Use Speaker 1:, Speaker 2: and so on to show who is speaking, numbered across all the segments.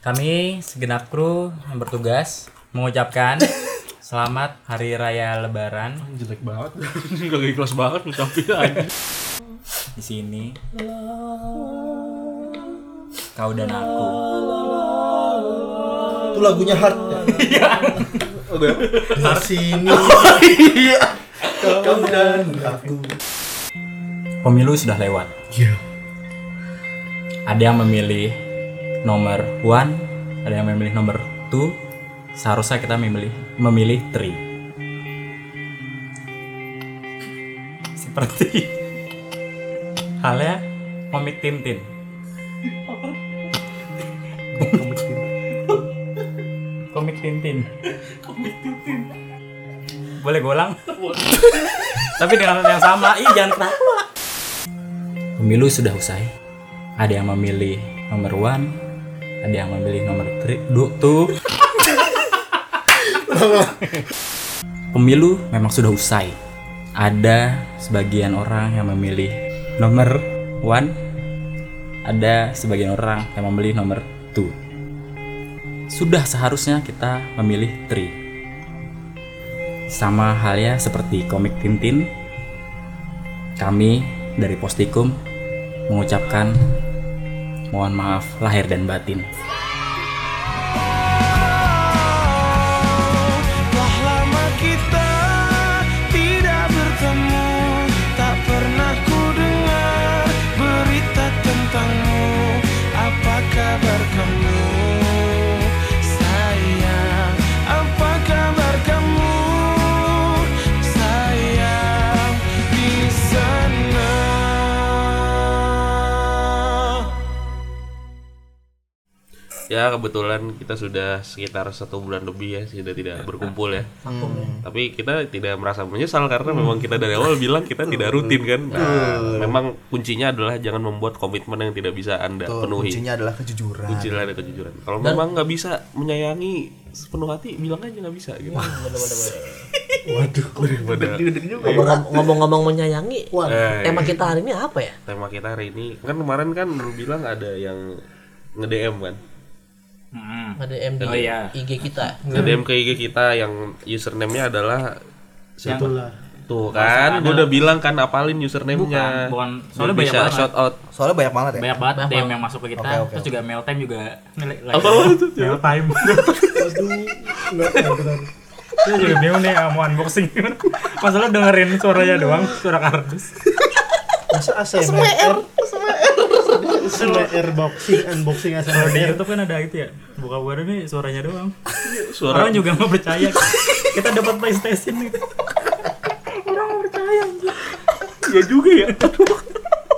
Speaker 1: Kami segenap kru yang bertugas mengucapkan selamat Hari Raya Lebaran
Speaker 2: jelek banget udah gak ikhlas banget ngucapin aja
Speaker 1: di sini. Kau dan aku.
Speaker 3: Itu lagunya hard ya.
Speaker 4: Iya.
Speaker 2: udah
Speaker 3: Hard sini. Kau dan aku.
Speaker 1: Pemilu sudah lewat.
Speaker 3: Iya.
Speaker 1: Ada yang memilih nomor one, ada yang memilih nomor two. Seharusnya kita memilih memilih three. Seperti halnya komik Tintin. Komik Tintin. Komik Tintin. Boleh golang? Tapi dengan yang sama, ih jangan ketawa. Pemilu sudah usai. Ada yang memilih nomor one, ada yang memilih nomor tri, du, tu. Pemilu memang sudah usai. Ada sebagian orang yang memilih nomor one, ada sebagian orang yang memilih nomor two. Sudah seharusnya kita memilih three. Sama halnya seperti komik Tintin, kami dari Postikum mengucapkan mohon maaf lahir dan batin.
Speaker 5: Telah lama kita tidak bertemu Tak pernah ku dengar berita tentangmu Apa kabar kamu sayang Apa kabar kamu sayang Di sana
Speaker 6: Ya kebetulan kita sudah sekitar satu bulan lebih ya sudah tidak berkumpul ya. Tapi kita tidak merasa menyesal karena memang kita dari awal bilang kita tidak rutin kan. Nah, memang kuncinya adalah jangan membuat komitmen yang tidak bisa anda penuhi.
Speaker 3: Kuncinya adalah kejujuran.
Speaker 6: Kuncinya ada kejujuran. Kalau memang nggak bisa menyayangi sepenuh hati, bilang aja nggak bisa gitu.
Speaker 3: Waduh.
Speaker 7: Ngomong- Ngomong-ngomong menyayangi,
Speaker 6: Eh,
Speaker 7: tema kita hari ini apa ya?
Speaker 6: tema kita hari ini kan kemarin kan lu bilang ada yang nge-DM kan.
Speaker 7: Ada MD
Speaker 1: Oh, iya.
Speaker 7: IG kita.
Speaker 3: Hmm.
Speaker 6: Nge-DM ke IG kita yang username-nya adalah siapa?
Speaker 3: Itulah.
Speaker 6: Tuh kan, gue udah bilang kan apalin
Speaker 1: Bukan,
Speaker 6: username-nya.
Speaker 1: bukan. Soalnya
Speaker 6: Biar
Speaker 1: banyak
Speaker 6: bisa
Speaker 1: banget.
Speaker 6: shout out.
Speaker 3: Soalnya banyak banget ya.
Speaker 1: Banyak banget DM yang masuk ke kita,
Speaker 3: Oke, oke,
Speaker 1: terus
Speaker 3: oke.
Speaker 1: juga mail time juga Apa itu? Mail time.
Speaker 3: Aduh. Enggak benar.
Speaker 1: Saya juga bingung nih mau unboxing. Masalah dengerin suaranya doang, suara kardus.
Speaker 3: Masa ASMR? ASMR boxing unboxing
Speaker 8: Kalau di
Speaker 3: ASMR.
Speaker 8: YouTube kan ada itu ya, buka baru nih suaranya doang.
Speaker 6: Suara
Speaker 8: Orang juga nggak percaya. Kita dapat PlayStation gitu.
Speaker 1: Iya
Speaker 6: gue juga ya.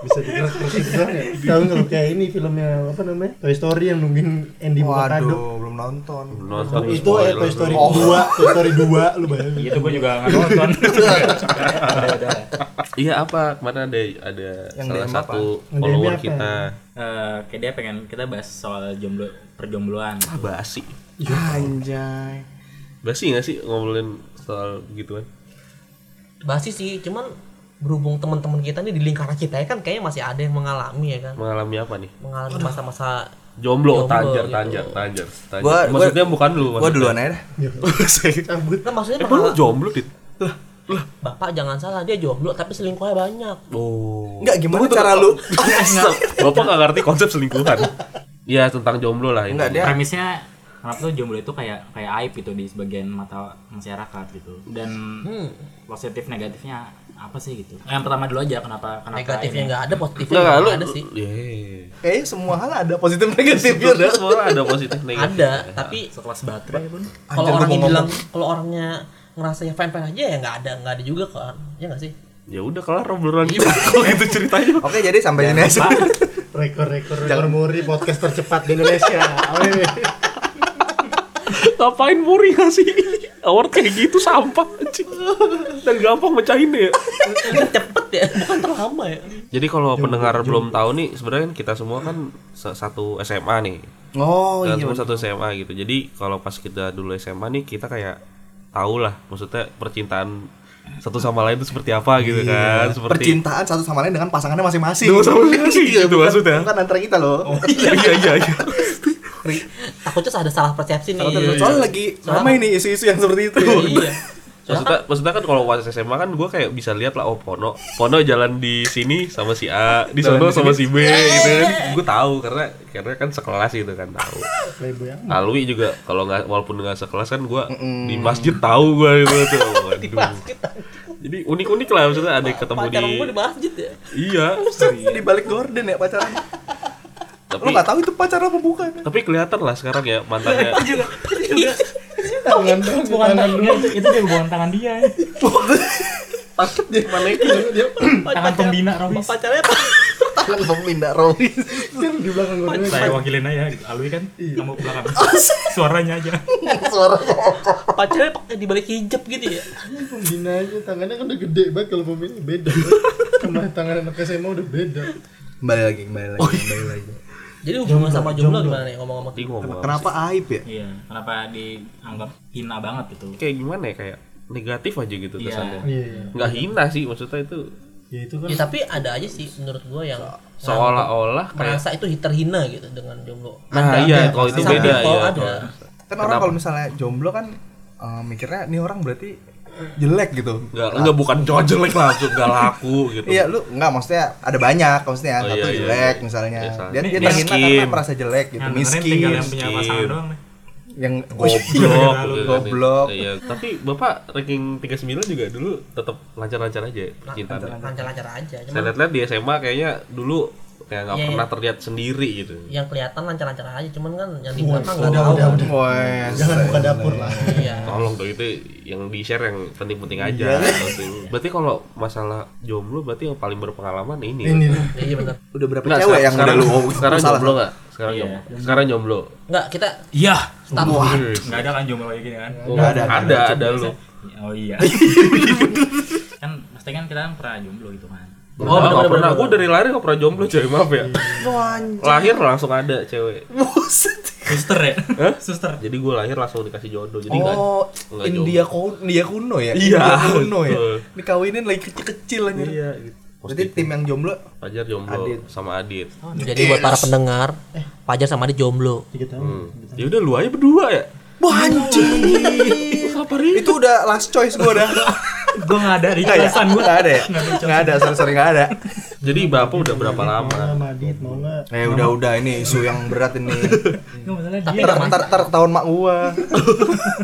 Speaker 3: Bisa dikeras-kerasin doang ya. Tahu enggak lu kayak ini filmnya apa namanya? Toy Story yang nungguin Andy buka kado.
Speaker 4: belum nonton.
Speaker 6: Nonton
Speaker 3: Itu eh,
Speaker 6: spoiler. Oh.
Speaker 3: Toy Story 2, Toy Story 2 lu bayangin.
Speaker 1: Itu gue juga nggak nonton.
Speaker 6: Iya apa? Kemarin ada ada
Speaker 4: Yang
Speaker 6: salah
Speaker 4: DM apa?
Speaker 6: satu
Speaker 3: Yang
Speaker 6: follower
Speaker 3: DM apa?
Speaker 6: kita
Speaker 1: Eh, kayak dia pengen kita bahas soal jomblo perjombloan.
Speaker 6: ah, basi.
Speaker 4: Iya. Anjay.
Speaker 6: Basi gak sih ngobrolin soal gituan?
Speaker 7: Basi sih, cuman berhubung teman-teman kita nih di lingkaran kita ya kan kayaknya masih ada yang mengalami ya kan.
Speaker 6: Mengalami apa nih?
Speaker 7: Mengalami masa-masa
Speaker 6: Jomblo,
Speaker 7: Jomblo,
Speaker 6: tanjar,
Speaker 7: gitu.
Speaker 6: tanjar, tanjar, tanjar.
Speaker 4: Gua- gua-
Speaker 6: maksudnya bukan lu.
Speaker 4: Gua
Speaker 6: maksudnya.
Speaker 4: duluan aja dah.
Speaker 3: Cabut.
Speaker 7: Nah, maksudnya
Speaker 6: Eh, lu
Speaker 7: pengala-
Speaker 6: jomblo dit.
Speaker 7: Bapak jangan salah dia jomblo tapi selingkuhnya banyak.
Speaker 6: Oh.
Speaker 4: Enggak gimana cara lu?
Speaker 6: Bapak gak ngerti konsep selingkuhan. Iya tentang jomblo lah ini.
Speaker 4: Enggak
Speaker 1: Ya.
Speaker 4: dia
Speaker 1: Premisnya kenapa tuh jomblo itu kayak kayak aib gitu di sebagian mata masyarakat gitu. Dan positif negatifnya apa sih gitu? Yang pertama dulu aja kenapa kenapa
Speaker 7: Negatifnya
Speaker 1: ini?
Speaker 7: nggak ada, positifnya
Speaker 6: Enggak, lu iya,
Speaker 7: nggak Iya, ada sih.
Speaker 6: Yeah.
Speaker 4: kayaknya semua hal ada positif ya negatifnya dah.
Speaker 6: Semua Iya, ada positif negatif.
Speaker 7: Ada, tapi
Speaker 1: sekelas baterai pun.
Speaker 7: kalau
Speaker 4: Anjir,
Speaker 7: orang
Speaker 4: gua
Speaker 7: yang
Speaker 4: mau
Speaker 7: bilang kalau orangnya ngerasa ya fan-fan aja ya nggak ada nggak ada juga kan ya nggak sih
Speaker 6: Ya udah kelar obrolan kita kok gitu ceritanya.
Speaker 4: Oke, jadi sampai sini aja.
Speaker 3: Rekor-rekor rekor muri podcast tercepat di Indonesia. Amin.
Speaker 6: Ngapain Muri ngasih award kayak gitu sampah anjing. Dan gampang mecahinnya ya.
Speaker 7: cepet ya bukan terlama ya
Speaker 6: Jadi kalau pendengar belum tahu nih sebenarnya kan kita semua kan se- satu SMA nih.
Speaker 4: Oh,
Speaker 6: Kita
Speaker 4: iya.
Speaker 6: semua satu SMA gitu. Jadi kalau pas kita dulu SMA nih kita kayak tahu lah maksudnya percintaan satu sama lain itu seperti apa gitu kan. Seperti
Speaker 4: Percintaan satu sama lain dengan pasangannya masing-masing.
Speaker 6: Dengan sama masing-masing,
Speaker 4: Iya,
Speaker 6: gitu
Speaker 4: bukan-
Speaker 6: maksudnya.
Speaker 4: Bukan antara kita loh.
Speaker 6: iya iya iya. iya.
Speaker 4: Ri.
Speaker 7: Takutnya ada salah persepsi nih.
Speaker 4: Soalnya soalnya lagi ramai nih isu-isu yang seperti itu.
Speaker 7: Iya.
Speaker 6: Maksudnya, maksudnya kan kalau pas SMA kan gue kayak bisa lihat lah oh Pono Pono jalan di sini sama si A di
Speaker 4: Jalan di
Speaker 6: sono sama si B gitu kan gue tahu karena karena kan sekelas gitu kan tahu
Speaker 3: Playboy
Speaker 4: ya?
Speaker 3: amat.
Speaker 6: Alwi juga kalau nggak walaupun nggak sekelas kan gue di masjid tahu gue gitu tuh waduh
Speaker 7: Kita
Speaker 6: jadi unik unik lah maksudnya ada yang ketemu di
Speaker 7: pacaran gue di masjid ya.
Speaker 6: iya
Speaker 4: Di balik gorden ya pacaran. Lu
Speaker 6: tapi
Speaker 4: nggak tahu itu pacaran apa bukan?
Speaker 6: tapi kelihatan lah sekarang ya mantannya
Speaker 3: Tangan dong,
Speaker 1: Bukan
Speaker 3: tangan
Speaker 1: tangan
Speaker 3: dulu.
Speaker 1: itu, itu dia bukan tangan dia. ya.
Speaker 4: Paket dia manekin dia
Speaker 1: Tangan pembina Rawis.
Speaker 7: Pacarnya
Speaker 4: tangan pemindah Rolly.
Speaker 3: Kan di belakang gue.
Speaker 1: Saya wakilin aja gitu. Alwi kan kamu belakang. Suaranya aja.
Speaker 4: Suara
Speaker 7: pacarnya pakai di balik hijab gitu ya.
Speaker 3: Pembinanya tangannya kan udah gede banget kalau pembina beda. Sama tangan anak SMA udah beda.
Speaker 4: Kembali lagi, kembali
Speaker 6: Oh,
Speaker 4: lagi,
Speaker 6: iya.
Speaker 4: kembali lagi.
Speaker 7: Jadi hubungan sama jomblo gimana nih ngomong-ngomong?
Speaker 6: Jadi ngomong apa
Speaker 4: Kenapa aib ya?
Speaker 1: Iya, kenapa dianggap hina banget itu?
Speaker 6: sih? kayak gimana ya kayak negatif aja gitu
Speaker 1: Iya.
Speaker 6: kesannya
Speaker 3: Iya, iya.
Speaker 6: nggak hina sih maksudnya itu
Speaker 3: Ya itu kan
Speaker 7: Ya, tapi ada aja sih menurut gue yang
Speaker 6: seolah-olah kayak
Speaker 7: merasa itu terhina gitu dengan jomblo.
Speaker 6: Nah, iya, kalau itu
Speaker 7: Some
Speaker 6: beda
Speaker 7: people
Speaker 6: ya.
Speaker 7: ada.
Speaker 4: Kan orang kalau misalnya jomblo kan eh, mikirnya nih orang berarti jelek gitu.
Speaker 6: Enggak, enggak bukan cowok jelek lah, maksud enggak laku gitu.
Speaker 4: Iya, lu enggak maksudnya ada banyak maksudnya
Speaker 6: Oh,
Speaker 4: satu
Speaker 6: iya, iya,
Speaker 4: jelek
Speaker 6: iya.
Speaker 4: misalnya.
Speaker 6: Iya, salah.
Speaker 4: Dia dia
Speaker 6: Miskin.
Speaker 4: terhina karena merasa jelek gitu,
Speaker 1: Yang dengerin
Speaker 4: miskin.
Speaker 1: tinggal yang punya pasangan
Speaker 6: miskin.
Speaker 1: doang nih.
Speaker 4: Yang
Speaker 6: Goblok,
Speaker 1: Lalu,
Speaker 6: gitu kan.
Speaker 4: iya, goblok.
Speaker 6: Iya, tapi Bapak ranking 39 juga dulu tetap lancar-lancar aja ya, percintaannya.
Speaker 7: Nah, Lancar-lancar aja.
Speaker 6: Saya
Speaker 7: Cuman
Speaker 6: lihat-lihat di SMA kayaknya dulu kayak nggak
Speaker 7: Iya,
Speaker 6: pernah terlihat sendiri gitu.
Speaker 7: yang kelihatan lancar-lancar aja, cuman kan yang di belakang
Speaker 3: udah,
Speaker 7: nggak tahu.
Speaker 3: udah, udah.
Speaker 4: Oh, Wes.
Speaker 3: Jangan buka dapur lah.
Speaker 7: Iya.
Speaker 6: Tolong tuh itu yang di-share yang penting-penting aja. Maksudnya. Berarti kalau masalah jomblo berarti yang paling berpengalaman ini. ya?
Speaker 3: Ini nih.
Speaker 7: Iya benar.
Speaker 4: Udah berapa
Speaker 6: Nggak,
Speaker 4: cewek yang udah
Speaker 6: sekarang,
Speaker 4: lu
Speaker 6: sekarang
Speaker 4: salah?
Speaker 6: jomblo nggak? Sekarang jomblo. Sekarang jomblo.
Speaker 7: Enggak, kita Oh,
Speaker 1: Iya.
Speaker 7: stop.
Speaker 1: Enggak ada kan jomblo kayak gini kan?
Speaker 6: Nggak ada, ada, ada lu.
Speaker 1: Oh iya. kan pasti kan kita kan pernah jomblo gitu kan.
Speaker 6: Oh,
Speaker 7: bener,
Speaker 6: nggak
Speaker 7: bener,
Speaker 6: pernah.
Speaker 7: bener.
Speaker 6: Gue dari lahir nggak pernah jomblo, coy. Maaf ya. Lahir langsung ada cewek.
Speaker 1: Suster ya?
Speaker 6: Hah?
Speaker 1: Suster.
Speaker 6: Jadi gue lahir langsung dikasih jodoh. Jadi kan nggak
Speaker 4: Oh,
Speaker 6: nggak
Speaker 4: India kuno, India kuno ya?
Speaker 6: Iya,
Speaker 4: India kuno ya.
Speaker 6: betul.
Speaker 4: Dikawinin lagi kecil-kecil aja. Iya, Berarti
Speaker 7: gitu.
Speaker 4: tim yang jomblo
Speaker 6: Fajar jomblo
Speaker 4: Adit.
Speaker 6: sama Adit.
Speaker 7: Jadi buat para pendengar, Pajar sama dia jomblo.
Speaker 3: Tiga tahun.
Speaker 6: Hmm. Ya udah lu aja berdua ya.
Speaker 4: Wah anjing. Itu udah last choice gua dah.
Speaker 1: Gue nggak ada di
Speaker 4: Enggak ya?
Speaker 1: kelasan gue.
Speaker 4: Enggak ada ya? Enggak ada, sorry-sorry enggak ada.
Speaker 6: Jadi bapak udah berapa lama?
Speaker 3: Sama Adit mau enggak?
Speaker 4: Eh udah udah ini isu yang berat ini.
Speaker 1: Nggak masalah
Speaker 7: Tapi
Speaker 6: Iya,
Speaker 1: dia.
Speaker 4: Ntar ntar ntar ketahuan mak gua.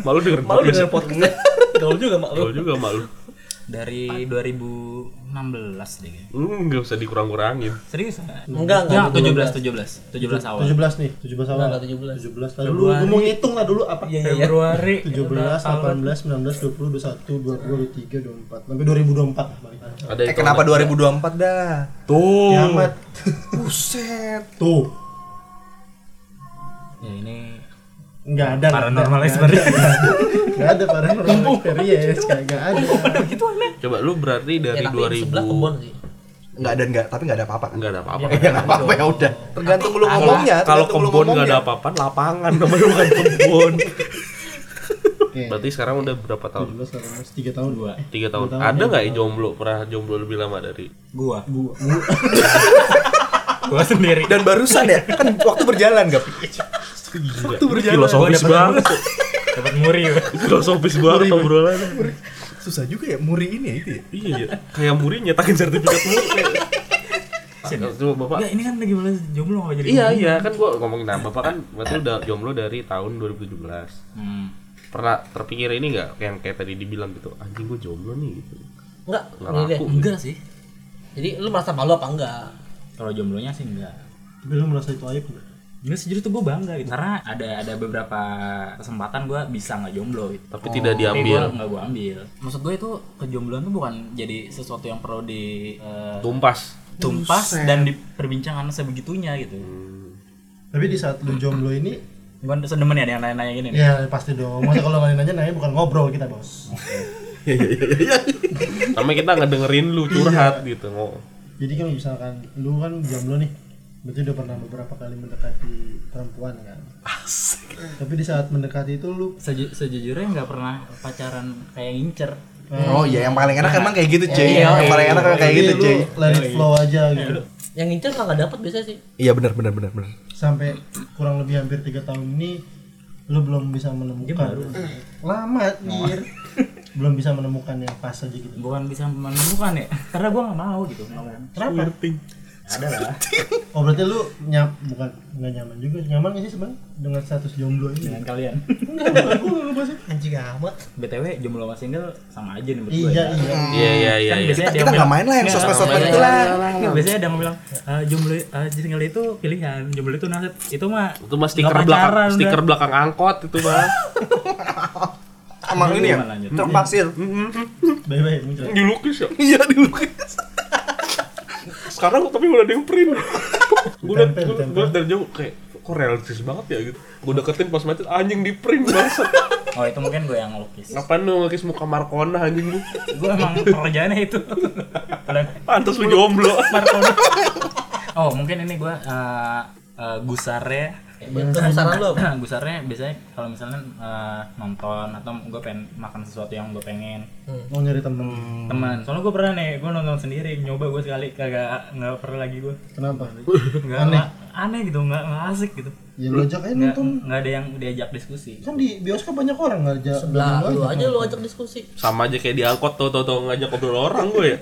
Speaker 6: Malu denger
Speaker 7: Malu
Speaker 6: podcast.
Speaker 7: dengan podcast. Gaul juga mak lu.
Speaker 6: Malu juga malu.
Speaker 1: Dari 2016 deh. kayaknya.
Speaker 6: Hmm, nggak usah dikurang-kurangin.
Speaker 1: Serius? nggak?
Speaker 7: Enggak, enggak.
Speaker 1: Ya, 17, 17, 17 awal.
Speaker 3: 17 nih, 17 awal.
Speaker 7: Enggak, 17.
Speaker 3: 17 tadi dulu. Gua mau ngitung lah dulu apa.
Speaker 1: Iya, iya. Februari
Speaker 3: 17, 18, 19, 20, 21, 22, 23, 24 Sampai 2024 balik lagi
Speaker 6: Ada
Speaker 4: Eh
Speaker 6: itu
Speaker 4: kenapa 2024 dah?
Speaker 6: Tuh.
Speaker 3: Kiamat
Speaker 4: Buset.
Speaker 3: Tuh
Speaker 1: Ya ini
Speaker 3: Nggak ada
Speaker 1: paranormal
Speaker 3: nggak ada.
Speaker 1: experience.
Speaker 3: Nggak ada paranormal experience Nggak nggak ada
Speaker 6: Coba lu berarti dari
Speaker 7: Ya, tapi
Speaker 6: 2000
Speaker 7: sebelah kebon sih.
Speaker 4: Enggak ada enggak, tapi enggak ada apa-apa.
Speaker 6: nggak ada apa-apa.
Speaker 7: Iya,
Speaker 4: Ya enggak apa-apa ya udah. Tergantung lu
Speaker 6: Kalau
Speaker 4: ngomongnya.
Speaker 6: kalau
Speaker 4: tergantung lu
Speaker 6: kebun nggak ada
Speaker 4: ngomongnya.
Speaker 6: apa-apa, lapangan namanya bukan kebun.
Speaker 3: Oke.
Speaker 6: Berarti sekarang udah berapa tahun?
Speaker 3: 17, 18, 3 tahun Eh,
Speaker 1: Dua.
Speaker 6: Tiga tahun.
Speaker 3: tahun,
Speaker 6: Ada nggak yang jomblo? Pernah jomblo lebih lama dari?
Speaker 1: Gua,
Speaker 3: Bu, bu
Speaker 1: gua sendiri.
Speaker 4: Dan barusan ya, kan waktu berjalan, Gap.
Speaker 6: Itu Filosofis banget.
Speaker 1: Dapat muri. gua.
Speaker 6: Filosofis banget obrolannya.
Speaker 4: Susah juga ya muri ini ya itu ya.
Speaker 6: Iya, iya. kayak muri nyetakin sertifikat mulu. Kayak- Coba bapak.
Speaker 1: Nggak, ini kan lagi malas jomblo nggak jadi.
Speaker 6: Iya iya kan gua ngomong nah bapak kan berarti udah jomblo dari tahun 2017.
Speaker 1: Hmm.
Speaker 6: Pernah terpikir ini nggak kayak kayak tadi dibilang gitu anjing gua jomblo nih gitu.
Speaker 7: Enggak,
Speaker 6: Nggak
Speaker 7: ini Iya deh.
Speaker 6: laku.
Speaker 1: Enggak sih.
Speaker 7: Jadi lu merasa malu apa enggak?
Speaker 1: Kalau jomblonya sih enggak.
Speaker 3: Tapi lu merasa itu aib nggak?
Speaker 1: Ini sejujurnya tuh gue bangga gitu. Karena ada ada beberapa kesempatan gue bisa nggak jomblo gitu.
Speaker 6: Tapi tidak
Speaker 1: Tapi
Speaker 6: diambil.
Speaker 1: gue nggak gue ambil. Maksud gue itu kejombloan tuh bukan jadi sesuatu yang perlu di eh,
Speaker 6: Tumpas.
Speaker 1: tumpas dan diperbincangkan sebegitunya gitu.
Speaker 3: Tapi di saat lu jomblo ini
Speaker 1: Bukan sedemen ya ada yang nanya-nanya gini. nih.
Speaker 3: Ya pasti dong Masa kalau nggak nanya nanya bukan ngobrol kita bos
Speaker 6: Sama kita ngedengerin lu curhat
Speaker 1: Iya.
Speaker 6: gitu. Ngo.
Speaker 3: Jadi kan misalkan lu kan jomblo nih Berarti udah pernah beberapa kali mendekati perempuan kan Tapi di saat mendekati itu lu
Speaker 1: Seju- sejujurnya nggak pernah pacaran kayak ngincer.
Speaker 6: Hmm.
Speaker 4: Oh iya, yang paling
Speaker 6: Nah,
Speaker 4: enak emang kayak gitu, cuy.
Speaker 6: iya,
Speaker 4: Yang paling enak emang kayak gitu,
Speaker 3: Jadi
Speaker 4: cuy.
Speaker 3: lu Let it flow aja gitu
Speaker 7: Yang ngincer enggak dapet biasanya sih.
Speaker 4: Iya benar benar benar benar.
Speaker 3: sampai kurang lebih hampir tiga tahun ini lu belum bisa menemukan lama anjir. belum bisa menemukan yang pas aja gitu
Speaker 1: bukan bisa menemukan ya karena gue nggak mau gitu
Speaker 3: kenapa
Speaker 1: ada lah
Speaker 3: oh berarti lu nyap bukan nggak nyaman juga nyaman gak sih sebenarnya dengan status jomblo ini
Speaker 1: dengan kalian
Speaker 7: anjing amat
Speaker 1: btw jumlah sama single sama aja nih berdua
Speaker 3: iya
Speaker 1: ya.
Speaker 3: iya
Speaker 6: Iya iya iya.
Speaker 1: Kan
Speaker 6: iya.
Speaker 1: biasanya
Speaker 4: kita nggak main lah yang
Speaker 1: iya,
Speaker 4: sosmed-sosmed itu lah
Speaker 1: Nggak, biasanya ada yang bilang "Eh, jomblo eh, single itu pilihan jomblo itu nasib itu mah
Speaker 6: Itu mah stiker
Speaker 1: nggak
Speaker 6: belakang
Speaker 1: pacaran,
Speaker 6: stiker
Speaker 1: udah.
Speaker 6: belakang angkot itu mah.
Speaker 4: sama ini ya
Speaker 1: Lanjut.
Speaker 4: terpaksir
Speaker 3: bye bye muncul
Speaker 6: Dilukis ya.
Speaker 4: iya dilukis
Speaker 6: Sekarang tapi udah ada yang print. Gue liat
Speaker 3: Ditempel,
Speaker 6: gua-
Speaker 3: ditempel.
Speaker 6: gua liat dari jauh kayak kok realistis banget ya gitu. Gue deketin pas macet anjing di print banget.
Speaker 1: oh itu mungkin gue yang lukis
Speaker 6: Ngapain lu ngekis muka Markona anjing lu?
Speaker 1: gue emang pekerjaannya itu Padahal-
Speaker 6: Pantas lu jomblo.
Speaker 1: Marconi. oh mungkin ini gue gusarnya
Speaker 7: saran lu
Speaker 1: nah.
Speaker 7: apa?
Speaker 1: gusarnya biasanya kalau misalnya eh, nonton atau gue pengen makan sesuatu yang gue pengen
Speaker 3: mau nyari temen
Speaker 1: teman soalnya gue pernah nih gue nonton sendiri nyoba gue sekali kagak nggak pernah lagi gue
Speaker 3: kenapa
Speaker 1: nggak
Speaker 3: Aneh.
Speaker 1: nggak- aneh gitu nggak nggak asik gitu
Speaker 3: ya lu ajak aja
Speaker 1: nggak
Speaker 3: nonton
Speaker 1: nggak ada yang diajak diskusi
Speaker 3: kan di bioskop banyak orang nggak ajak
Speaker 7: lah lu
Speaker 3: lu ajak.
Speaker 7: aja lu ajak diskusi
Speaker 6: Sama aja kayak di angkot tuh tuh tuh ngajak ngobrol orang gue ya.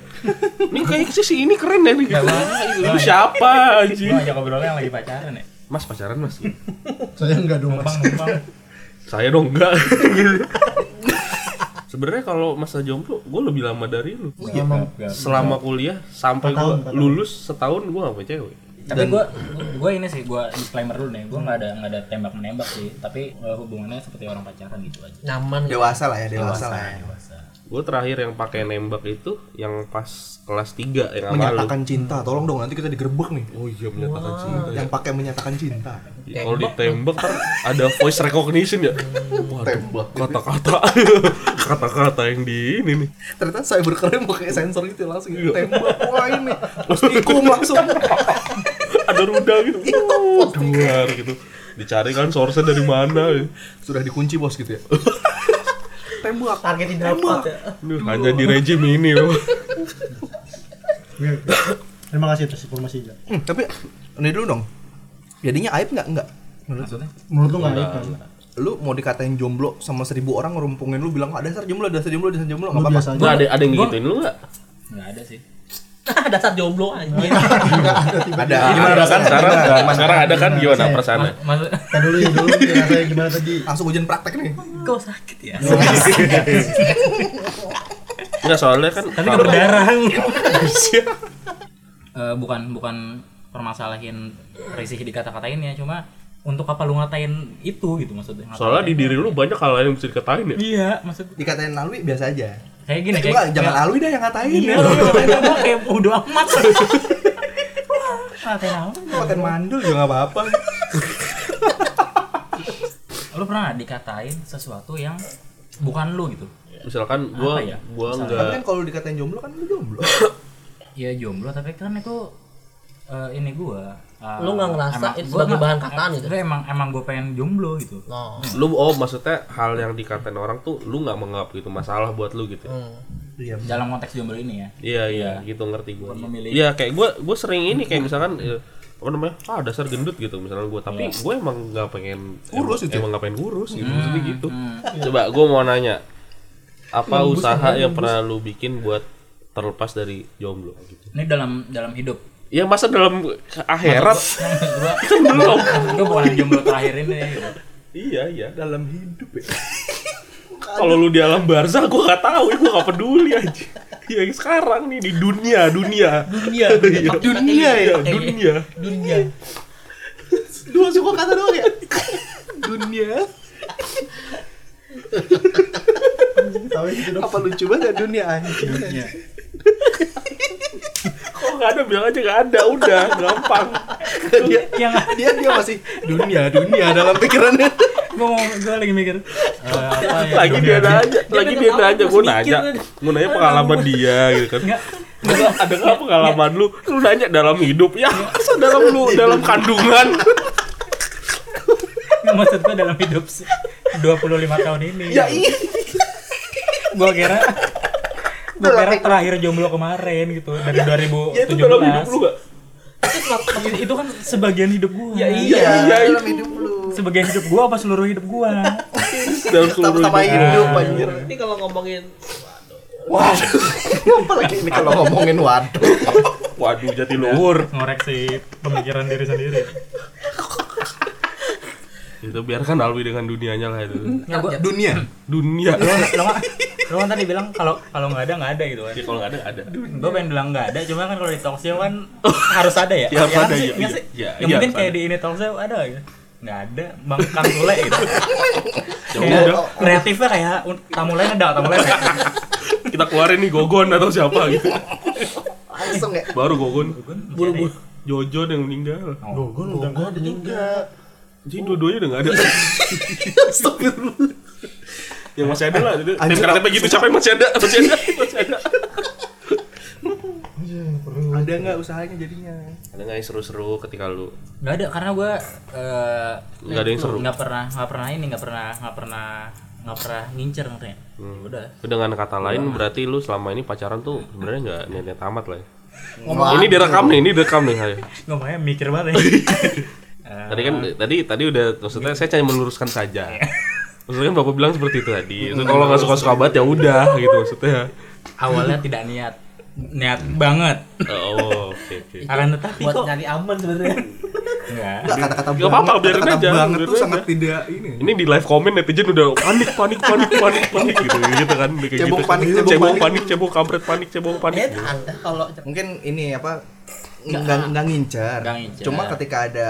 Speaker 6: Ini kayak si- si ini keren ya nih. Lu siapa
Speaker 1: gue
Speaker 6: anjing?
Speaker 1: ngajak ngobrolnya yang lagi pacaran ya
Speaker 6: Mas pacaran Mas.
Speaker 3: saya nggak dong mas
Speaker 1: numpang numpang
Speaker 6: Saya dong enggak. Gitu. Sebenarnya kalau masa jomblo gue lebih lama dari lu.
Speaker 1: Iya,
Speaker 3: Emang
Speaker 6: Selama kuliah sampai
Speaker 3: Empat tahun,
Speaker 6: gue
Speaker 3: empat tahun.
Speaker 6: lulus setahun gue gak punya cewek.
Speaker 1: tapi gue gue ini sih gue disclaimer dulu nih gue nggak ada nggak ada tembak menembak sih tapi eh, hubungannya seperti orang pacaran gitu aja
Speaker 7: nyaman
Speaker 4: dewasa lah ya dewasa lah ya
Speaker 1: dewasa Iya,
Speaker 6: Gue terakhir yang pakai nembak itu yang pas kelas 3 yang sama lu.
Speaker 4: menyatakan cinta tolong dong nanti kita digerebek nih
Speaker 6: Oh iya menyatakan cinta.
Speaker 4: yang pakai menyatakan cinta
Speaker 6: Ya, Kalau ditembak ntar ada voice recognition ya.
Speaker 4: tembak
Speaker 6: Kata-kata kata-kata yang di ini nih.
Speaker 4: ternyata cybercrime pakai sensor gitu langsung gitu. tembak wah ini terus tikung langsung
Speaker 6: Ada ruda gitu. Oh, duar gitu. Dicari kan source dari mana ya.
Speaker 4: sudah dikunci bos gitu ya tembak
Speaker 7: target tidak dapat ya
Speaker 6: Aduh, hanya di rejim ini loh.
Speaker 3: Oke, oke. terima kasih atas informasinya
Speaker 4: Hmm, tapi ini dulu dong jadinya aib nggak nggak menurut
Speaker 1: maksudnya
Speaker 3: menurut lu nggak aib kan
Speaker 4: lu mau dikatain jomblo sama seribu orang ngerumpungin lu bilang ah dasar jomblo dasar jomblo dasar jomblo
Speaker 3: lu
Speaker 4: nggak apa-apa
Speaker 3: biasa aja
Speaker 6: Gua ada ada yang gituin lu enggak?
Speaker 1: nggak ada sih
Speaker 7: dasar jomblo anjing
Speaker 4: ada
Speaker 6: Gimana ada kan sekarang?
Speaker 4: Ada.
Speaker 6: Sekarang ada kan gimana perasaannya?
Speaker 1: maksud
Speaker 3: Tadi dulu ya dulu rasanya gimana tadi
Speaker 4: langsung ujian praktek nih
Speaker 7: kau sakit ya
Speaker 6: Iya. Enggak soalnya kan
Speaker 1: tapi nggak berdarah
Speaker 6: Iya.
Speaker 1: Eh, bukan bukan permasalahin risih dikata-katainnya cuma untuk apa lu ngatain itu gitu maksudnya ngatain.
Speaker 6: soalnya di diri lu banyak hal lain yang bisa dikatain ya.
Speaker 1: iya maksud
Speaker 4: dikatain lalui biasa aja
Speaker 1: kayak gini
Speaker 4: eh,
Speaker 1: kayak
Speaker 4: coba jangan
Speaker 1: kayak-
Speaker 4: lalui dah yang ngatain
Speaker 1: iya
Speaker 4: ya
Speaker 1: lu ngatain apa kayak bodo amat ngatain apa
Speaker 4: Lu ngatain mandul juga nggak apa-apa
Speaker 1: lu pernah nggak dikatain sesuatu yang bukan lu gitu
Speaker 6: Misalkan gua
Speaker 1: Apa ya?
Speaker 6: gua
Speaker 4: tapi
Speaker 6: enggak
Speaker 4: kan kalau lu dikatain jomblo kan lu jomblo
Speaker 1: ya jomblo tapi kan itu eh, ini gua eh,
Speaker 7: Lu nggak ngerasa
Speaker 1: emang-
Speaker 7: itu
Speaker 1: gua
Speaker 7: sebagai
Speaker 1: nggak-
Speaker 7: bahan kataan gitu?
Speaker 1: Gua emang emang gua pengen jomblo gitu
Speaker 7: no
Speaker 6: lu oh maksudnya hal yang dikatain orang tuh lu nggak menganggap itu masalah buat lu gitu
Speaker 7: Hmm.
Speaker 6: ya?
Speaker 4: iya
Speaker 1: dalam konteks jomblo ini ya
Speaker 6: iya iya gitu ngerti gua
Speaker 1: Bukan memilih.
Speaker 6: iya kayak gua gua sering ini kayak misalkan eh, apa namanya ah dasar gendut gitu misalnya gua tapi gua emang nggak pengen
Speaker 4: Kurus
Speaker 6: emang,
Speaker 4: itu ya?
Speaker 6: emang nggak pengen kurus gitu maksudnya gitu coba gua mau nanya apa usaha yang pernah lu bikin buat terlepas dari jomblo gitu
Speaker 1: ini dalam dalam hidup
Speaker 6: ya masa dalam akhirat
Speaker 1: gua
Speaker 6: kan belum
Speaker 1: gua bukan yang jomblo terakhir ini gitu.
Speaker 6: iya iya dalam hidup ya kalau lu di alam barzah gua nggak tahu gua nggak peduli aja ya sekarang nih di dunia dunia dunia dunia dunia ya dunia
Speaker 7: dunia
Speaker 4: dua suku kata doang ya dunia
Speaker 3: tahu gitu dong
Speaker 4: apa lucu banget ya dunia anjing
Speaker 6: kok nggak ada bilang aja nggak ada udah gampang
Speaker 4: dia
Speaker 1: yang
Speaker 4: dia dia masih dunia dunia dalam pikirannya
Speaker 1: gua mau gua lagi mikir eh, apa ya
Speaker 6: lagi Oh, iya. dia nanya lagi dia
Speaker 7: tetap
Speaker 6: nanya
Speaker 7: harus
Speaker 6: gua
Speaker 7: mikir
Speaker 6: nanya
Speaker 7: kan.
Speaker 6: gua nanya pengalaman dia gitu kan
Speaker 1: Nggak.
Speaker 6: Ada- ada nggak pengalaman lu lu nanya dalam hidup ya masa dalam lu dalam kandungan
Speaker 1: Nggak, maksud gua dalam hidup sih 25 tahun ini gitu.
Speaker 4: ya iya
Speaker 1: gua kira gua kira terakhir jomblo kemarin gitu dari
Speaker 6: ya itu dalam hidup lu
Speaker 1: 2017
Speaker 6: nggak
Speaker 7: itu kenapa,
Speaker 1: i- itu kan sebagian hidup gua.
Speaker 7: Ya
Speaker 4: Iya,
Speaker 7: iya.
Speaker 4: dalam hidup lu.
Speaker 1: Sebagian hidup gua apa seluruh hidup gua?
Speaker 6: dalam seluruh
Speaker 4: Sama-sama hidup anjir.
Speaker 7: Ini kalau ngomongin
Speaker 4: Waduh. Apalagi ini kalau ngomongin waduh.
Speaker 6: waduh jati luhur
Speaker 1: Ngoreksi pemikiran diri sendiri.
Speaker 6: itu biarkan Alwi dengan dunianya lah itu
Speaker 1: Ya gua
Speaker 4: Dunia.
Speaker 6: dunia
Speaker 1: lu lu lu kan tadi bilang kalau kalau nggak ada nggak ada gitu kan.
Speaker 6: Jadi kalau nggak ada ada
Speaker 1: Gue pengen bilang nggak ada, cuma kan kalau di talk show kan harus ada ya.
Speaker 6: Ya, harus
Speaker 1: kan
Speaker 6: ada,
Speaker 1: sih?
Speaker 6: Iya. iya,
Speaker 1: Nggak
Speaker 6: iya,
Speaker 1: sih?
Speaker 6: iya,
Speaker 1: Ya
Speaker 6: iya,
Speaker 1: mungkin
Speaker 6: harus
Speaker 1: kayak
Speaker 6: ada.
Speaker 1: di ini talk show ada gitu. Nggak ada, Bang Kang Tule gitu.
Speaker 6: ya udah
Speaker 1: Kayak kreatifnya kayak un- tamu lain ada, tamu lain ada.
Speaker 6: kita keluarin nih Gogon atau siapa gitu
Speaker 4: Langsung ya.
Speaker 6: baru Gogon
Speaker 1: Bulu-bulu.
Speaker 6: Jojon yang meninggal
Speaker 3: Loh, gue udah nggak ada juga.
Speaker 6: jadi dua-duanya udah nggak ada
Speaker 4: Astagfirullah.
Speaker 6: yang Ya, masih ada lah jadi tim
Speaker 4: Anjir.
Speaker 6: kreatifnya gitu siapa yang masih ada masih ada masih ada
Speaker 4: Ada nggak usahanya jadinya?
Speaker 6: ada nggak yang seru-seru ketika lu
Speaker 1: Nggak ada karena gue eh
Speaker 6: Nggak ada yang seru.
Speaker 1: Nggak pernah, nggak pernah ini, nggak pernah, nggak pernah, nggak pernah ngincer maksudnya.
Speaker 6: Hmm.
Speaker 1: Udah.
Speaker 6: dengan kata lain berarti lu selama ini pacaran tuh sebenarnya nggak niat-niat amat lah ya.
Speaker 4: Ngomong
Speaker 6: ini direkam nih ini direkam nih ayo.
Speaker 1: Ngomongnya mikir banget. ya.
Speaker 6: tadi kan tadi tadi udah maksudnya saya hanya meluruskan saja maksudnya kan bapak bilang seperti itu tadi Maksudnya kalau nggak suka suka banget ya udah gitu maksudnya
Speaker 1: Awalnya tidak niat, niat
Speaker 6: Hmm.
Speaker 1: banget.
Speaker 6: oh oke oke
Speaker 1: Akan tetapi
Speaker 7: buat
Speaker 1: kok
Speaker 7: nyari aman sebenarnya.
Speaker 1: enggak.
Speaker 4: Nggak, kata-kata
Speaker 6: Nggak apa-apa,
Speaker 4: banget,
Speaker 6: biarin
Speaker 4: kata-kata
Speaker 6: aja,
Speaker 4: banget
Speaker 6: biarin
Speaker 4: tuh
Speaker 6: aja.
Speaker 4: sangat tidak ini.
Speaker 6: ini di live comment netizen udah panik panik panik panik panik gitu gitu kan Udah kayak
Speaker 4: Cebong
Speaker 6: gitu.
Speaker 4: panik, cebong
Speaker 6: cebong
Speaker 4: panik.
Speaker 6: panik cebong kampret panik cebong panik gitu.
Speaker 7: Eh, Anda kalau
Speaker 4: Mungkin ini apa nggak nggak ngincer.
Speaker 1: Nggak ngincer.
Speaker 4: Cuma ketika ada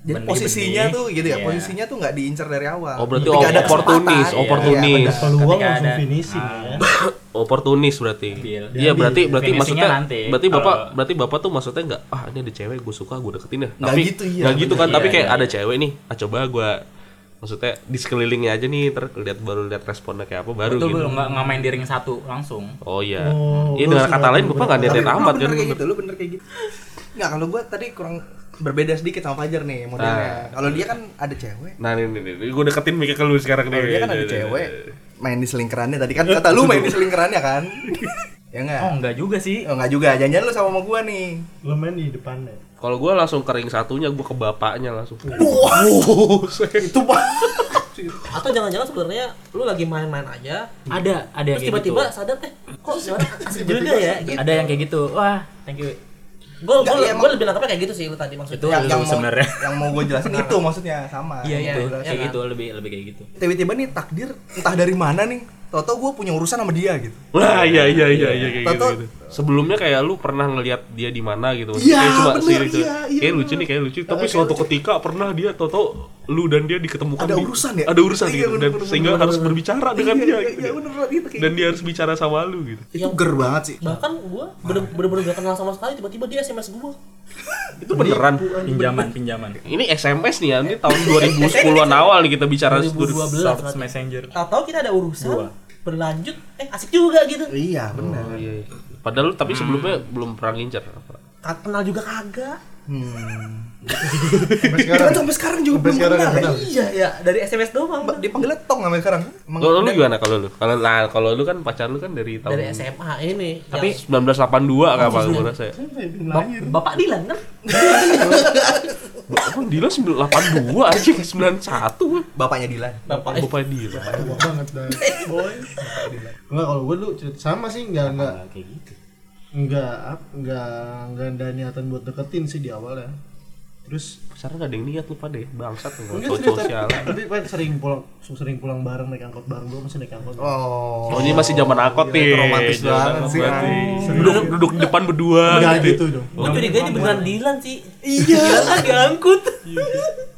Speaker 4: jadi
Speaker 1: Benih-benih.
Speaker 4: posisinya tuh gitu ya,
Speaker 1: Iya.
Speaker 4: posisinya tuh nggak diincer dari awal.
Speaker 6: oh berarti
Speaker 4: Ketika ada
Speaker 6: oportunis
Speaker 4: kesempatan.
Speaker 6: oportunis
Speaker 4: Iya,
Speaker 3: Peluang
Speaker 1: Ketika
Speaker 3: langsung
Speaker 1: ada- Ah.
Speaker 3: finishing ya.
Speaker 6: oportunis berarti
Speaker 1: Ambil.
Speaker 6: iya berarti berarti
Speaker 1: Finishingnya
Speaker 6: maksudnya
Speaker 1: nanti.
Speaker 6: berarti bapak
Speaker 1: Kalau-
Speaker 6: berarti bapak tuh maksudnya nggak ah ini ada cewek gue suka gue deketin ya
Speaker 4: Nggak
Speaker 6: tapi
Speaker 4: gitu, iya,
Speaker 6: nggak gitu
Speaker 4: bener.
Speaker 6: kan tapi
Speaker 1: Iya,
Speaker 6: kayak
Speaker 1: iya,
Speaker 6: ada
Speaker 1: iya.
Speaker 6: cewek nih ah coba gue maksudnya di sekelilingnya aja nih terus lihat baru lihat responnya kayak apa baru
Speaker 1: Betul
Speaker 6: gitu
Speaker 1: betul nggak nggak main di ring satu langsung.
Speaker 6: oh iya
Speaker 3: Oh,
Speaker 6: iya
Speaker 3: lu
Speaker 6: dengan
Speaker 3: sudah
Speaker 6: kata lain bapak nggak
Speaker 4: Tapi
Speaker 6: niatin
Speaker 4: lu
Speaker 6: amat kan
Speaker 4: bener kayak gitu, lu bener kayak gitu. Nggak, kalau gua tadi kurang berbeda sedikit sama Fajar nih modelnya. Kalau dia kan ada cewek.
Speaker 6: nah ini nih, nih gue deketin Mika ke lu sekarang nih
Speaker 4: Kalau
Speaker 1: Iya,
Speaker 4: dia kan ada cewek main di selingkerannya tadi kan kata lu main di selingkerannya kan. ya
Speaker 6: Iya.
Speaker 4: enggak?
Speaker 1: Oh enggak juga sih.
Speaker 4: Oh, enggak juga, jangan-jangan lu sama sama gua nih.
Speaker 3: Lo main di depannya.
Speaker 6: kalau gue langsung kering satunya gue ke bapaknya langsung
Speaker 4: Itu Pak.
Speaker 7: atau jangan-jangan sebenarnya lu lagi main-main aja,
Speaker 1: Ada ada yang
Speaker 7: terus
Speaker 1: kayak
Speaker 7: tiba-tiba
Speaker 1: gitu.
Speaker 7: sadar eh kok sebenarnya asik juga ya gitu.
Speaker 1: Ada yang kayak gitu. Wah, thank you.
Speaker 7: Gue
Speaker 4: Nggak, iya, emang-
Speaker 7: gue lebih nangkepnya kayak gitu sih lu
Speaker 1: Itu
Speaker 7: tadi maksudnya.
Speaker 1: yang,
Speaker 4: yang mau,
Speaker 1: sebenarnya.
Speaker 4: yang mau gue jelasin itu maksudnya sama.
Speaker 1: Iya
Speaker 4: Yang
Speaker 1: itu
Speaker 4: gua jelasin.
Speaker 1: kayak gitu lebih lebih kayak gitu.
Speaker 4: Tiba-tiba nih takdir entah dari mana nih, toto gue punya urusan sama dia gitu.
Speaker 6: Wah, iya iya iya iya kayak gitu,
Speaker 4: Tato-
Speaker 6: gitu. Sebelumnya kayak lu pernah ngelihat dia di mana gitu.
Speaker 4: Iya, bener,
Speaker 6: Kayak sih gitu.
Speaker 4: iya, iya,
Speaker 6: Kayak
Speaker 4: bener.
Speaker 6: lucu nih, kayak lucu. Tapi
Speaker 4: kayak
Speaker 6: suatu
Speaker 4: lucu.
Speaker 6: ketika pernah dia toto lu dan dia diketemukan
Speaker 4: Ada
Speaker 6: di-
Speaker 4: urusan ya?
Speaker 6: Ada urusan
Speaker 4: Iya,
Speaker 6: gitu
Speaker 4: bener,
Speaker 6: dan
Speaker 4: bener,
Speaker 6: sehingga
Speaker 4: bener,
Speaker 6: harus
Speaker 4: bener.
Speaker 6: berbicara dengan
Speaker 4: Iya,
Speaker 6: dia
Speaker 4: iya,
Speaker 6: gitu.
Speaker 4: iya, bener banget gitu kayak
Speaker 6: Dan dia harus bicara sama lu gitu.
Speaker 4: Itu ger banget sih.
Speaker 6: Iya.
Speaker 7: Bahkan gue
Speaker 6: Nah.
Speaker 7: bener-bener gak kenal sama sekali, tiba-tiba dia SMS gue.
Speaker 6: Itu beneran.
Speaker 1: Pinjaman pinjaman.
Speaker 6: Ini SMS nih ya, ini tahun 2010-an
Speaker 4: Iya.
Speaker 6: awal nih kita bicara
Speaker 7: 2012.
Speaker 1: Short messenger.
Speaker 7: Tahu-tahu kita ada urusan, berlanjut, eh asik juga gitu.
Speaker 4: Iya, benar.
Speaker 6: Oh, iya, iya. Padahal lu tapi
Speaker 4: Hmm.
Speaker 6: sebelumnya belum pernah ngincer apa.
Speaker 7: Ka- Kenal juga kagak.
Speaker 3: Sampai
Speaker 4: Kita
Speaker 3: sekarang.
Speaker 4: kan sampai sekarang juga
Speaker 3: Sampai
Speaker 4: belum
Speaker 3: sekarang
Speaker 4: kenal.
Speaker 3: nggak kenal.
Speaker 4: ya.
Speaker 7: Iya ya, dari SMS doang.
Speaker 4: Ba- Dipanggilnya tong sampai sekarang. Emang
Speaker 6: Kalau lu gimana kalau lu? Kalau nah, kalau lu kan pacar lu kan dari tahun
Speaker 7: Dari SMA ini.
Speaker 6: Tapi
Speaker 4: Oh,
Speaker 6: 1982 kan apa gue rasa ya?
Speaker 3: Sampai belum
Speaker 7: Yang-
Speaker 3: lahir.
Speaker 7: Bapak Dilan kan?
Speaker 6: Bapak Dila 82 aja 91
Speaker 4: bapaknya Dilan.
Speaker 6: Bapak
Speaker 7: Eh,
Speaker 6: Bapak Dila
Speaker 3: Tua banget dah. Boy. Enggak kalau gue lu cerita sama sih enggak enggak
Speaker 1: Kayak gitu.
Speaker 3: enggak ap- enggak enggak ada niatan buat deketin sih di awal ya. Terus
Speaker 6: Sekarang gak ada yang lihat lu pada ya Bangsat lu
Speaker 3: enggak
Speaker 6: Sosial
Speaker 3: serius tapi, tapi kan sering pulang sering pulang bareng naik angkot bareng gue masih naik angkot.
Speaker 4: Oh.
Speaker 6: Oh ini masih zaman angkot
Speaker 4: Gila,
Speaker 6: nih
Speaker 4: itu romantis banget sih.
Speaker 6: Duduk, duduk di depan berdua
Speaker 3: Enggak
Speaker 6: gitu.
Speaker 3: gitu dong.
Speaker 7: Gue curiganya beneran Dilan sih. Iya. Dilan kan diangkut.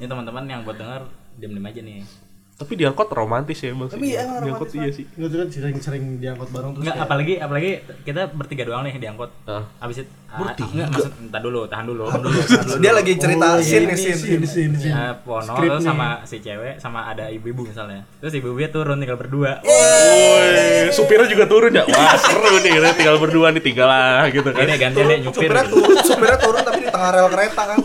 Speaker 1: Ini teman-teman yang buat denger diam-diam aja nih.
Speaker 6: Tapi di angkot romantis ya emang
Speaker 4: Tapi
Speaker 6: sih
Speaker 4: emang
Speaker 6: Di angkot
Speaker 4: romantis
Speaker 6: iya sih
Speaker 3: Enggak tuh kan sering-sering di angkot bareng terus.
Speaker 1: Enggak,
Speaker 3: kayak-
Speaker 1: apalagi apalagi kita bertiga doang nih di angkot.
Speaker 6: Ah.
Speaker 1: Habis itu enggak maksud entar dulu, tahan dulu. Tahan dulu. tahan dulu.
Speaker 4: Dia lagi cerita
Speaker 3: Oh,
Speaker 4: scene
Speaker 3: iya,
Speaker 4: nih
Speaker 3: ini,
Speaker 4: scene.
Speaker 3: scene, scene, scene.
Speaker 1: Ya, Pono
Speaker 3: Skrip
Speaker 1: lu
Speaker 3: nih.
Speaker 1: sama si cewek sama ada ibu-ibu misalnya. Terus ibu-ibunya turun tinggal berdua.
Speaker 6: Woi, supirnya juga turun ya? Wah seru nih, kita tinggal berdua nih, tinggal lah gitu
Speaker 1: Ini
Speaker 6: kan
Speaker 1: gantian deh nyupir. gitu.
Speaker 4: Supirnya turun, supirnya turun tapi di tengah rel kereta kan.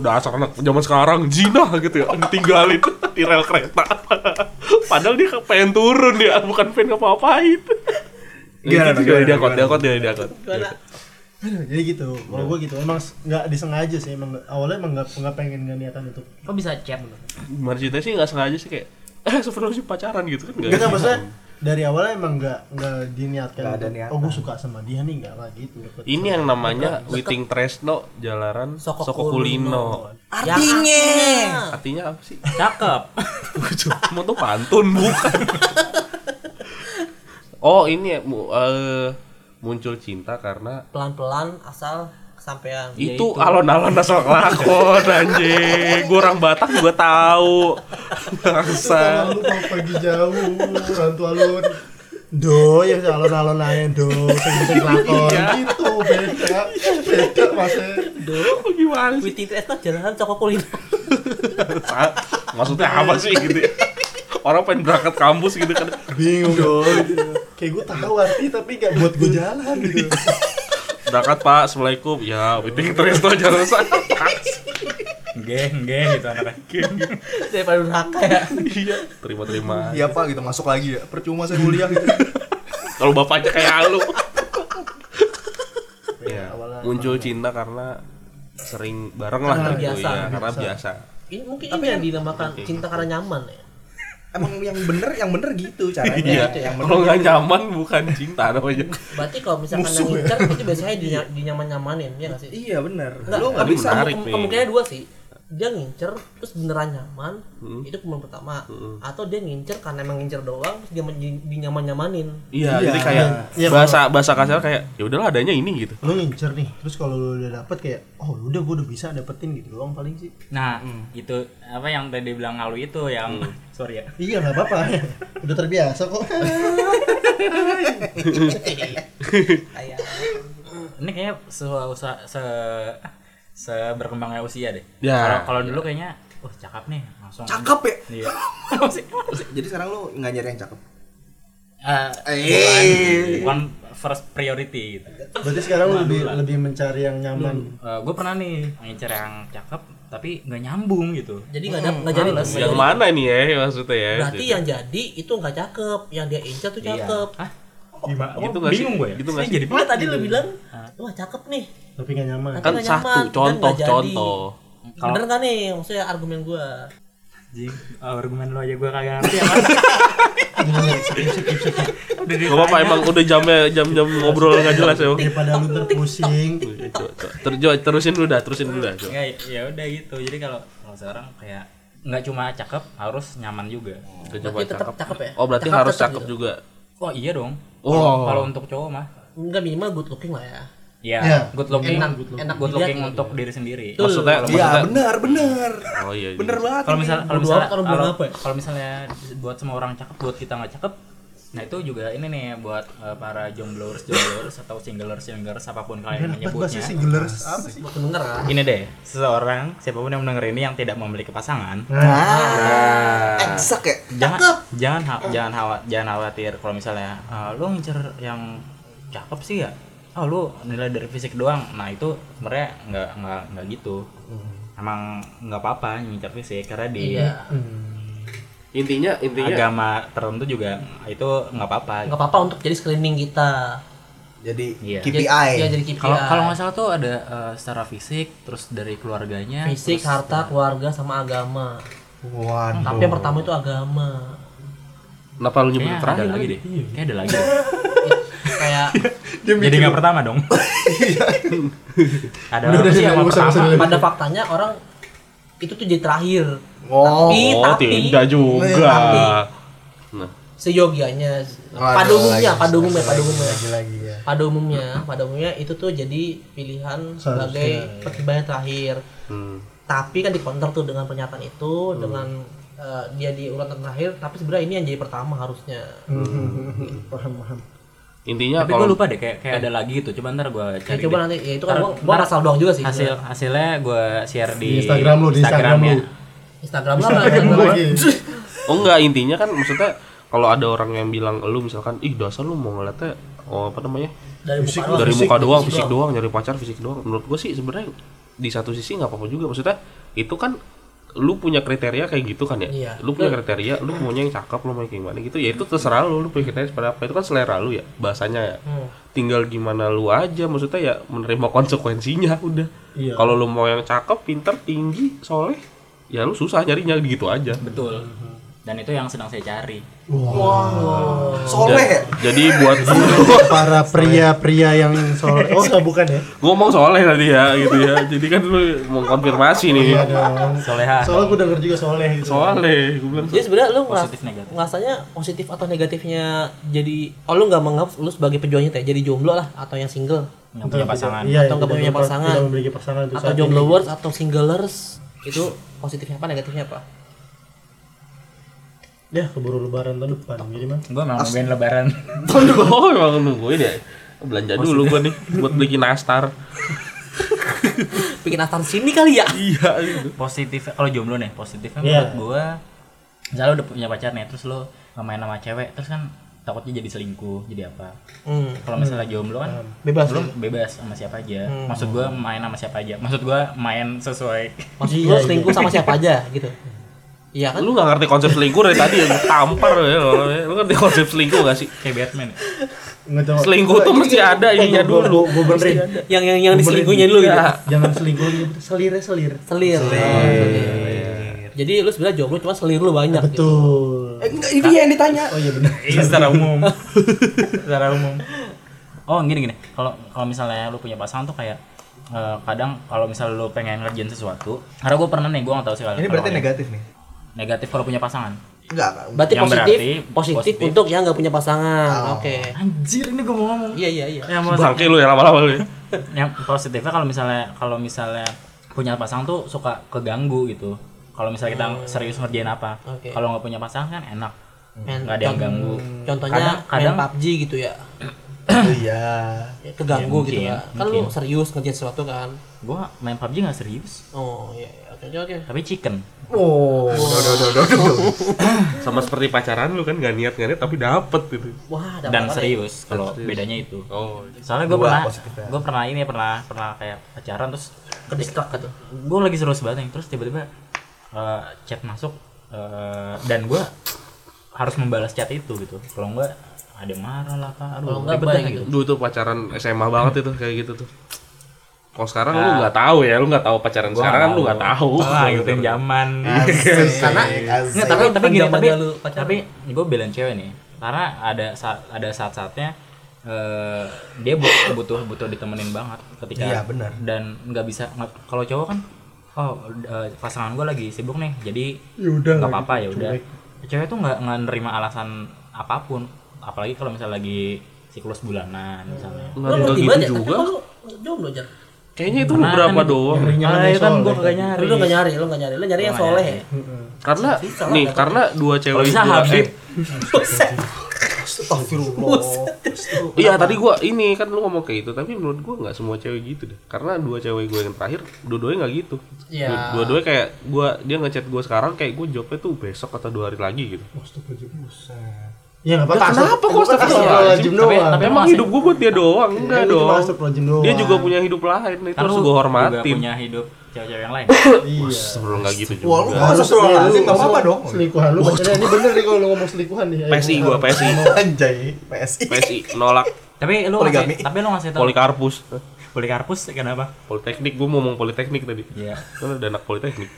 Speaker 6: Dasar anak zaman sekarang, Jina gitu ya Ditinggalin di rel kereta Padahal dia pengen turun ya, bukan pengen ngapa-ngapain
Speaker 4: Gimana,
Speaker 6: Gitu juga
Speaker 4: gimana,
Speaker 6: di angkot,
Speaker 4: gimana?
Speaker 6: di angkot, di angkot
Speaker 7: Gimana?
Speaker 3: Aduh, jadi gitu. Kalau
Speaker 4: Iya.
Speaker 3: gue gitu, emang s- nggak disengaja sih. Emang nggak- awalnya emang nggak nggak pengen nggak niatan untuk.
Speaker 1: Kok bisa chat?
Speaker 6: Gimana ceritanya sih nggak sengaja sih kayak eh sebelum sih pacaran gitu kan nggak
Speaker 3: Gak maksudnya dari awalnya emang nggak nggak diniatkan.
Speaker 4: Nggak ada
Speaker 3: untuk,
Speaker 4: niatan.
Speaker 3: Oh gue suka sama dia nih nggak lah gitu.
Speaker 6: ini yang namanya Witing Tresno Jalaran Sokokulino
Speaker 4: Artinya.
Speaker 6: artinya apa sih
Speaker 1: Cakep.
Speaker 6: mau tuh pantun bukan oh ini ya mu- eh, muncul cinta karena
Speaker 7: Pelan-pelan asal kesampaian.
Speaker 6: Ya itu alon-alon asal kelakon anjing Gua orang Batak juga tahu bangsa
Speaker 3: Lalu mau pergi jauh, rantu alun. Do, ya alon-alon aja do, sing-sing lakon gitu, beda, beda masih.
Speaker 6: gimana sih
Speaker 7: Witi Tresna jalanan Sokokulino.
Speaker 6: Sa- maksudnya apa sih gitu ya? orang pengen berangkat kampus gitu kan
Speaker 3: Bingung do, gitu. kayak gue tahu arti tapi nggak buat gue jalan gitu.
Speaker 6: berangkat pak assalamualaikum ya Witing Tresno Jalaran Sokokulino
Speaker 9: Nggih, nggih gitu anaknya.
Speaker 7: Daripada durhaka ya.
Speaker 6: iya terima-terima
Speaker 4: Iya pak gitu masuk lagi ya. Percuma saya kuliah gitu.
Speaker 6: kalau bapaknya kayak lu
Speaker 3: Ya, awalnya
Speaker 6: muncul cinta karena sering bareng lah
Speaker 7: Karena
Speaker 6: gitu
Speaker 7: biasa,
Speaker 6: ya karena biasa
Speaker 7: Ini mungkin ini
Speaker 6: kan-
Speaker 7: yang dinamakan cinta karena nyaman ya.
Speaker 4: Emang yang bener yang bener gitu caranya.
Speaker 6: iya
Speaker 4: Gitu, Yang bener.
Speaker 6: kalau nggak nyaman bukan cinta namanya
Speaker 7: Berarti kalau misalkan yang ngincer itu biasanya dinya- dinyaman-nyamanin, ya nggak sih?
Speaker 4: Iya bener.
Speaker 7: Enggak,
Speaker 4: Lu nggak
Speaker 6: tapi
Speaker 4: bisa.
Speaker 6: menarik
Speaker 7: kem-
Speaker 6: nih.
Speaker 7: kemungkinannya dua sih. Dia ngincer terus beneran nyaman, itu kemungkinan pertama. Atau dia ngincer karena emang ngincer doang terus dia men- dinyaman-nyamanin.
Speaker 6: iya
Speaker 3: Iya.
Speaker 6: jadi kayak
Speaker 3: Iya,
Speaker 6: bahasa bahasa kasar kayak ya udahlah adanya ini gitu
Speaker 3: lu ngincer nih terus kalau lu udah dapet kayak oh lu udah gue udah bisa dapetin gitu doang paling sih
Speaker 1: Nah, itu apa yang tadi bilang ngalu itu yang sorry ya.
Speaker 3: iya nggak apa-apa udah terbiasa kok
Speaker 7: Kayak
Speaker 1: Ini kayaknya se se, se, se berkembangnya usia deh.
Speaker 6: Ya.
Speaker 1: Kalau kalau dulu kayaknya wah cakep nih langsung.
Speaker 4: Cakep ya.
Speaker 1: Iya. Apa sih? Apa sih?
Speaker 4: Jadi sekarang lu nggak nyari yang cakep.
Speaker 1: Eh,
Speaker 4: Eh.
Speaker 1: one first priority gitu.
Speaker 3: berarti sekarang lu lebih lebih mencari yang nyaman
Speaker 1: gue pernah nih ngincer yang cakep tapi nggak nyambung gitu.
Speaker 7: jadi nggak ada nggak jadi. Nggak
Speaker 6: yang
Speaker 7: jadi.
Speaker 6: mana nih ya maksudnya ya
Speaker 7: Iya, Berarti iya, yang jadi itu nggak cakep, yang dia incer
Speaker 1: Iya.
Speaker 7: tuh cakep.
Speaker 1: Hah? Gimana?
Speaker 6: Gitu
Speaker 1: Oh,
Speaker 6: nggak sih?
Speaker 1: bingung gue ya.
Speaker 6: Gitu nggak
Speaker 1: Saya
Speaker 6: sih?
Speaker 1: jadi
Speaker 7: Nah, tadi lu bilang, wah cakep nih.
Speaker 3: tapi nggak nyaman
Speaker 6: kan
Speaker 7: nggak nyaman,
Speaker 6: satu
Speaker 7: dan
Speaker 6: contoh
Speaker 7: nggak jadi.
Speaker 6: contoh
Speaker 1: Kalau-
Speaker 7: Bener nggak nih maksudnya argumen gua?
Speaker 1: Jing, argumen lo aja gue kagak ngerti ya. Udah
Speaker 6: Gak apa-apa
Speaker 1: ditanya.
Speaker 6: emang udah jamnya jam-jam ngobrol nggak
Speaker 7: Iya.
Speaker 6: jelas ya Bang.
Speaker 3: daripada lu terpusing
Speaker 6: Coba- coba. Ter- coba, terusin dulu dah terusin dulu dah
Speaker 7: Iya,
Speaker 6: coba.
Speaker 1: Ya, ya udah gitu. Jadi kalau kalau sekarang kayak nggak cuma cakep, harus nyaman juga.
Speaker 6: Kita coba
Speaker 7: Berarti tetap cakep ya?
Speaker 6: oh berarti harus cakep
Speaker 7: gitu.
Speaker 6: juga
Speaker 1: Oh iya dong.
Speaker 6: Oh.
Speaker 1: Kalau- Kalau untuk cowok mah,
Speaker 7: Enggak minimal good looking lah ya.
Speaker 1: ya
Speaker 3: Ya,
Speaker 1: good looking,
Speaker 7: enak,
Speaker 1: good looking,
Speaker 7: enak
Speaker 1: good
Speaker 7: dilihat
Speaker 1: looking
Speaker 7: gitu.
Speaker 1: untuk diri sendiri.
Speaker 4: Iya
Speaker 6: maksudnya maksudnya
Speaker 4: bener bener.
Speaker 6: oh iya
Speaker 4: Bener banget.
Speaker 1: Kalau misalnya kalau misalnya
Speaker 7: Bodo amat orang
Speaker 1: kalau-
Speaker 7: bilang apa ya?
Speaker 1: kalau misalnya buat semua orang cakep, buat kita nggak cakep, nah itu juga ini nih buat eh, para jombloers jombloers atau singlers singlers apapun kalian
Speaker 3: Enak banget bahasa
Speaker 1: menyebutnya.
Speaker 3: singlers
Speaker 1: Ah.
Speaker 3: apa sih
Speaker 7: Makin bener lah.
Speaker 1: Ini deh, seseorang siapapun yang mendengar ini yang tidak memiliki pasangan,
Speaker 4: Eksak ya.
Speaker 1: jangan jangan ha- jangan khawatir jangan khawatir kalau misalnya ah, lu ngincer yang cakep sih ya oh lu nilai dari fisik doang nah itu sebenarnya nggak nggak nggak gitu
Speaker 3: Hmm.
Speaker 1: emang nggak apa-apa ngincer fisik karena di
Speaker 3: Iya.
Speaker 6: intinya intinya
Speaker 1: agama tertentu juga itu nggak apa-apa gitu.
Speaker 7: Nggak apa-apa untuk jadi screening kita.
Speaker 4: Jadi
Speaker 1: Iya.
Speaker 4: KPI.
Speaker 7: Ya jadi KPI.
Speaker 1: kalau
Speaker 3: Iya.
Speaker 1: kalau nggak salah tuh ada eh, secara fisik terus dari keluarganya
Speaker 7: fisik,
Speaker 1: terus-
Speaker 7: harta, keluarga sama agama.
Speaker 4: Waduh.
Speaker 7: Tapi yang pertama itu agama.
Speaker 6: kenapa lu nyebut
Speaker 7: Iya,
Speaker 1: Kayaknya
Speaker 6: terakhir
Speaker 1: Iya, ada lagi
Speaker 6: lagi
Speaker 1: deh Iya. kayak ada lagi deh.
Speaker 7: Kayak
Speaker 1: jadi nggak pertama dong ada
Speaker 3: Iya. Udah, udah,
Speaker 1: apa sih yang
Speaker 3: udah, nggak usah,
Speaker 1: pertama
Speaker 3: nggak usah.
Speaker 7: pada faktanya orang itu tuh jadi terakhir.
Speaker 4: Oh.
Speaker 7: tapi
Speaker 6: oh
Speaker 7: tapi Iya,
Speaker 6: tidak juga
Speaker 7: tapi
Speaker 6: nah
Speaker 7: seyogianya
Speaker 4: Waduh,
Speaker 7: pada umumnya,
Speaker 4: lagi,
Speaker 7: pada umumnya, pada umumnya.
Speaker 3: lagi lagi ya
Speaker 7: Pada umumnya, pada umumnya itu tuh jadi pilihan sebagai pertimbangan terakhir.
Speaker 6: hmm.
Speaker 7: Tapi kan di counter tuh dengan pernyataan itu dengan eh, dia di urutan terakhir, tapi sebenarnya ini yang jadi pertama harusnya.
Speaker 3: paham paham
Speaker 6: intinya
Speaker 1: tapi gue
Speaker 6: kalau
Speaker 1: lupa deh kayak
Speaker 3: Eh.
Speaker 1: kayak ada lagi gitu coba ntar gue
Speaker 7: Ya,
Speaker 1: cari
Speaker 7: coba
Speaker 1: deh.
Speaker 7: nanti ya itu kan
Speaker 1: Ntar-
Speaker 7: gua, gua
Speaker 1: ntar
Speaker 7: asal doang juga sih.
Speaker 1: hasil hasilnya gue share di,
Speaker 3: Di Instagram lu, di Instagram
Speaker 1: ya.
Speaker 3: lu.
Speaker 7: Instagram lah, Instagram lah.
Speaker 3: lagi
Speaker 6: oh enggak intinya kan maksudnya kalau ada orang yang bilang lu misalkan ih dasar lu mau ngeliatnya oh, apa namanya
Speaker 7: dari muka doang.
Speaker 6: dari muka doang fisik doang nyari pacar fisik doang menurut gue sih sebenarnya di satu sisi nggak apa-apa juga maksudnya itu kan lu punya kriteria kayak gitu kan ya
Speaker 7: Iya.
Speaker 6: lu punya kriteria lu maunya yang cakep lu mau yang kayak gimana gitu ya itu terserah lu lu punya kriteria seperti apa itu kan selera lu ya bahasanya ya
Speaker 7: Hmm.
Speaker 6: tinggal gimana lu aja maksudnya ya menerima konsekuensinya udah
Speaker 3: Iya.
Speaker 6: kalau lu mau yang cakep pinter tinggi soleh ya lu susah nyarinya gitu aja
Speaker 1: betul dan itu yang sedang saya cari
Speaker 4: Soleh ya?
Speaker 6: jadi buat
Speaker 3: para pria-pria yang soleh oh enggak bukan ya
Speaker 6: ngomong soleh tadi ya gitu ya jadi kan lu mau konfirmasi nih
Speaker 3: iya dong
Speaker 1: soleha
Speaker 3: soalnya gue denger juga soleh gitu
Speaker 6: soleh gue bilang
Speaker 7: Jadi sebenarnya lu ngeras,
Speaker 1: Positif, negatif.
Speaker 7: ngerasanya positif atau negatifnya jadi oh lu nggak menganggap lu sebagai pejuang itu ya jadi jomblo lah atau yang single
Speaker 1: nggak punya pasangan
Speaker 3: iya,
Speaker 7: Atau
Speaker 3: iya,
Speaker 7: nggak
Speaker 3: tidak
Speaker 7: punya
Speaker 3: memper-
Speaker 7: pasangan.
Speaker 3: tidak memiliki pasangan untuk
Speaker 7: atau
Speaker 3: saat
Speaker 7: jomblo
Speaker 3: ini.
Speaker 7: wars atau singlers itu positifnya apa negatifnya apa?
Speaker 3: ya keburu lebaran tahun depan jadi mah
Speaker 1: gue malah nungguin lebaran
Speaker 6: oh emang nungguin ya belanja dulu gua nih buat beli nastar
Speaker 7: Bikin asal sini kali ya?
Speaker 6: iya gitu
Speaker 1: positif kalau jomblo nih positifnya
Speaker 3: Iya.
Speaker 1: menurut gue misalnya lu udah punya pacar nih terus lo main sama cewek terus kan takutnya jadi selingkuh jadi apa
Speaker 7: Hmm.
Speaker 1: kalau misalnya jomblo kan
Speaker 7: Bebas.
Speaker 1: belum
Speaker 3: Hmm.
Speaker 1: bebas sama siapa aja maksud gue main sama siapa aja maksud gue main sesuai
Speaker 7: Maksud
Speaker 3: Iya,
Speaker 7: lu
Speaker 3: iya.
Speaker 7: selingkuh sama siapa aja gitu. Iya kan?
Speaker 6: lu gak ngerti konsep selingkuh dari tadi ya Gua tampar ya lo ya. lu ngerti konsep selingkuh gak sih
Speaker 1: kayak Batman ya.
Speaker 3: nggak tahu
Speaker 6: selingkuh tuh mesti ada ininya dulu
Speaker 3: gue benerin
Speaker 7: Yang yang yang diselingkuhnya dulu gitu.
Speaker 6: Iya.
Speaker 3: jangan selingkuh gitu. selirnya selir
Speaker 7: Selir. Jadi lu sebenarnya jomblo cuma selir lu banyak. gitu.
Speaker 3: betul
Speaker 4: Eh, enggak, ini dia yang ditanya.
Speaker 3: oh iya benar
Speaker 1: Iya, secara umum secara umum oh gini gini kalau kalau misalnya lu punya pasangan tuh kayak eh, kadang kalau misalnya lu pengen ngerjain sesuatu karena gue pernah nih gue nggak tahu sih kalau
Speaker 4: Ini berarti
Speaker 1: kalau-
Speaker 4: negatif nih.
Speaker 1: negatif kalau punya pasangan
Speaker 4: Enggak, enggak.
Speaker 7: Berarti
Speaker 1: Yang
Speaker 7: positif,
Speaker 1: berarti
Speaker 7: positif,
Speaker 1: positif.
Speaker 7: untuk yang nggak punya pasangan. Oke.
Speaker 1: anjir ini gue mau ngomong
Speaker 7: Iya iya iya.
Speaker 1: yang, posi-
Speaker 6: bangke lu ya lama-lama lu ya.
Speaker 4: Iya.
Speaker 1: yang positifnya kalau misalnya kalau misalnya punya pasangan tuh suka keganggu gitu kalau misalnya kita
Speaker 4: Hmm.
Speaker 1: serius ngerjain apa
Speaker 7: Oke.
Speaker 1: kalau nggak punya pasangan kan enak
Speaker 4: Hmm.
Speaker 7: Main-
Speaker 1: nggak ada yang
Speaker 7: con-
Speaker 1: ganggu
Speaker 7: Contohnya
Speaker 1: kadang, kadang
Speaker 7: main PUBG gitu ya.
Speaker 4: Iya.
Speaker 7: Ya, keganggu
Speaker 1: Ya,
Speaker 7: gitu
Speaker 1: mungkin,
Speaker 7: ya. Kan lu serius ngerjain sesuatu kan.
Speaker 1: gue main PUBG nggak serius
Speaker 7: Oh iya iya. Oke oke, oke.
Speaker 1: tapi chicken
Speaker 4: Oh, udah, udah, udah, udah, udah.
Speaker 6: sama seperti pacaran lu kan gak niat gak niat tapi dapet gitu
Speaker 7: Wah, ada
Speaker 1: dan
Speaker 7: apa-apa
Speaker 1: serius kalau bedanya itu
Speaker 6: oh
Speaker 1: soalnya gue
Speaker 4: Dua
Speaker 1: pernah
Speaker 4: positifnya.
Speaker 1: gue pernah ini pernah pernah kayak pacaran terus
Speaker 7: nih. Ke distract gitu.
Speaker 1: gue lagi serius banget nih terus tiba-tiba eh, chat masuk eh, dan gue harus membalas chat itu gitu kalau enggak ada yang marah lah apa aduh
Speaker 7: Kalau nggak
Speaker 1: ribet
Speaker 7: baik
Speaker 1: deh,
Speaker 7: gitu.
Speaker 6: dulu tuh pacaran SMA banget itu kayak gitu tuh kalau sekarang lu nggak tahu ya lu nggak tahu pacaran
Speaker 1: Gua
Speaker 6: sekarang kan lu nggak tahu gitu. Iya.
Speaker 1: Wah, ngikutin zaman
Speaker 4: Karena
Speaker 1: Nggak, tapi tapi gini
Speaker 7: Zaman
Speaker 1: tapi
Speaker 7: dulu pacaran.
Speaker 1: tapi gue belain cewek nih karena ada saat ada saat-saatnya eh, dia bu- butuh butuh ditemenin banget ketika
Speaker 4: Iya, benar.
Speaker 1: dan nggak bisa nggak- kalau cowok kan oh eh, pasangan gue lagi sibuk nih jadi
Speaker 3: ya udah
Speaker 1: nggak apa-apa ya udah cewek tuh nggak nggak nerima alasan apapun apalagi kalau misalnya lagi siklus bulanan misalnya
Speaker 6: nggak nggak
Speaker 7: ngerti banget
Speaker 6: gitu
Speaker 7: ya, tapi
Speaker 6: juga
Speaker 7: kok lu jomblo aja.
Speaker 6: kayaknya itu beberapa doang
Speaker 7: Iya.
Speaker 1: Ah, ya kan gue kagak nyari
Speaker 7: Lu nggak nyari, lu nggak nyari, lu nyari yang soleh. ya?
Speaker 6: karena nih karena dua cewek
Speaker 1: kalau bisa
Speaker 6: gua-
Speaker 1: Habib
Speaker 6: eh, iya tadi gua ini kan lu ngomong kayak gitu tapi menurut gua nggak semua cewek gitu deh karena dua cewek gua yang terakhir dua-duanya nggak gitu
Speaker 7: Iya.
Speaker 6: Dua- dua-duanya kayak gua dia ngechat gua sekarang kayak gua jawabnya tuh besok atau dua hari lagi gitu
Speaker 3: ya nggak apa-apa
Speaker 6: Ya, kenapa kok
Speaker 3: astagfirullahaladzim
Speaker 1: Tapi-
Speaker 3: doang
Speaker 1: tapi
Speaker 6: emang
Speaker 1: masih-
Speaker 6: hidup gua buat dia doang enggak
Speaker 3: Ini Iya, cuma
Speaker 6: dong
Speaker 3: astagfirullahaladzim doang.
Speaker 6: dia juga punya hidup lain itu
Speaker 1: kan
Speaker 6: harus
Speaker 1: lu
Speaker 6: gua
Speaker 1: juga
Speaker 6: hormatin
Speaker 1: punya hidup cewek-cewek yang lain
Speaker 3: Iya.
Speaker 6: sebelum nggak gitu
Speaker 4: Wah, lu
Speaker 6: juga
Speaker 4: kok astagfirullahaladzim, nggak apa-apa dong.
Speaker 3: Selingkuhan lu pacarnya ini bener nih kalau lu ngomong selingkuhan nih. Iya. Ayo,
Speaker 6: PSI gua PSI
Speaker 4: Iya. Anjay, PSI.
Speaker 6: PSI nolak
Speaker 1: tapi lu
Speaker 4: Poligami.
Speaker 1: ngasih, tapi lu ngasih tau
Speaker 6: polikarpus
Speaker 1: polikarpus kenapa
Speaker 6: politeknik gua mau ngomong politeknik tadi
Speaker 1: Iya.
Speaker 6: Lu udah anak politeknik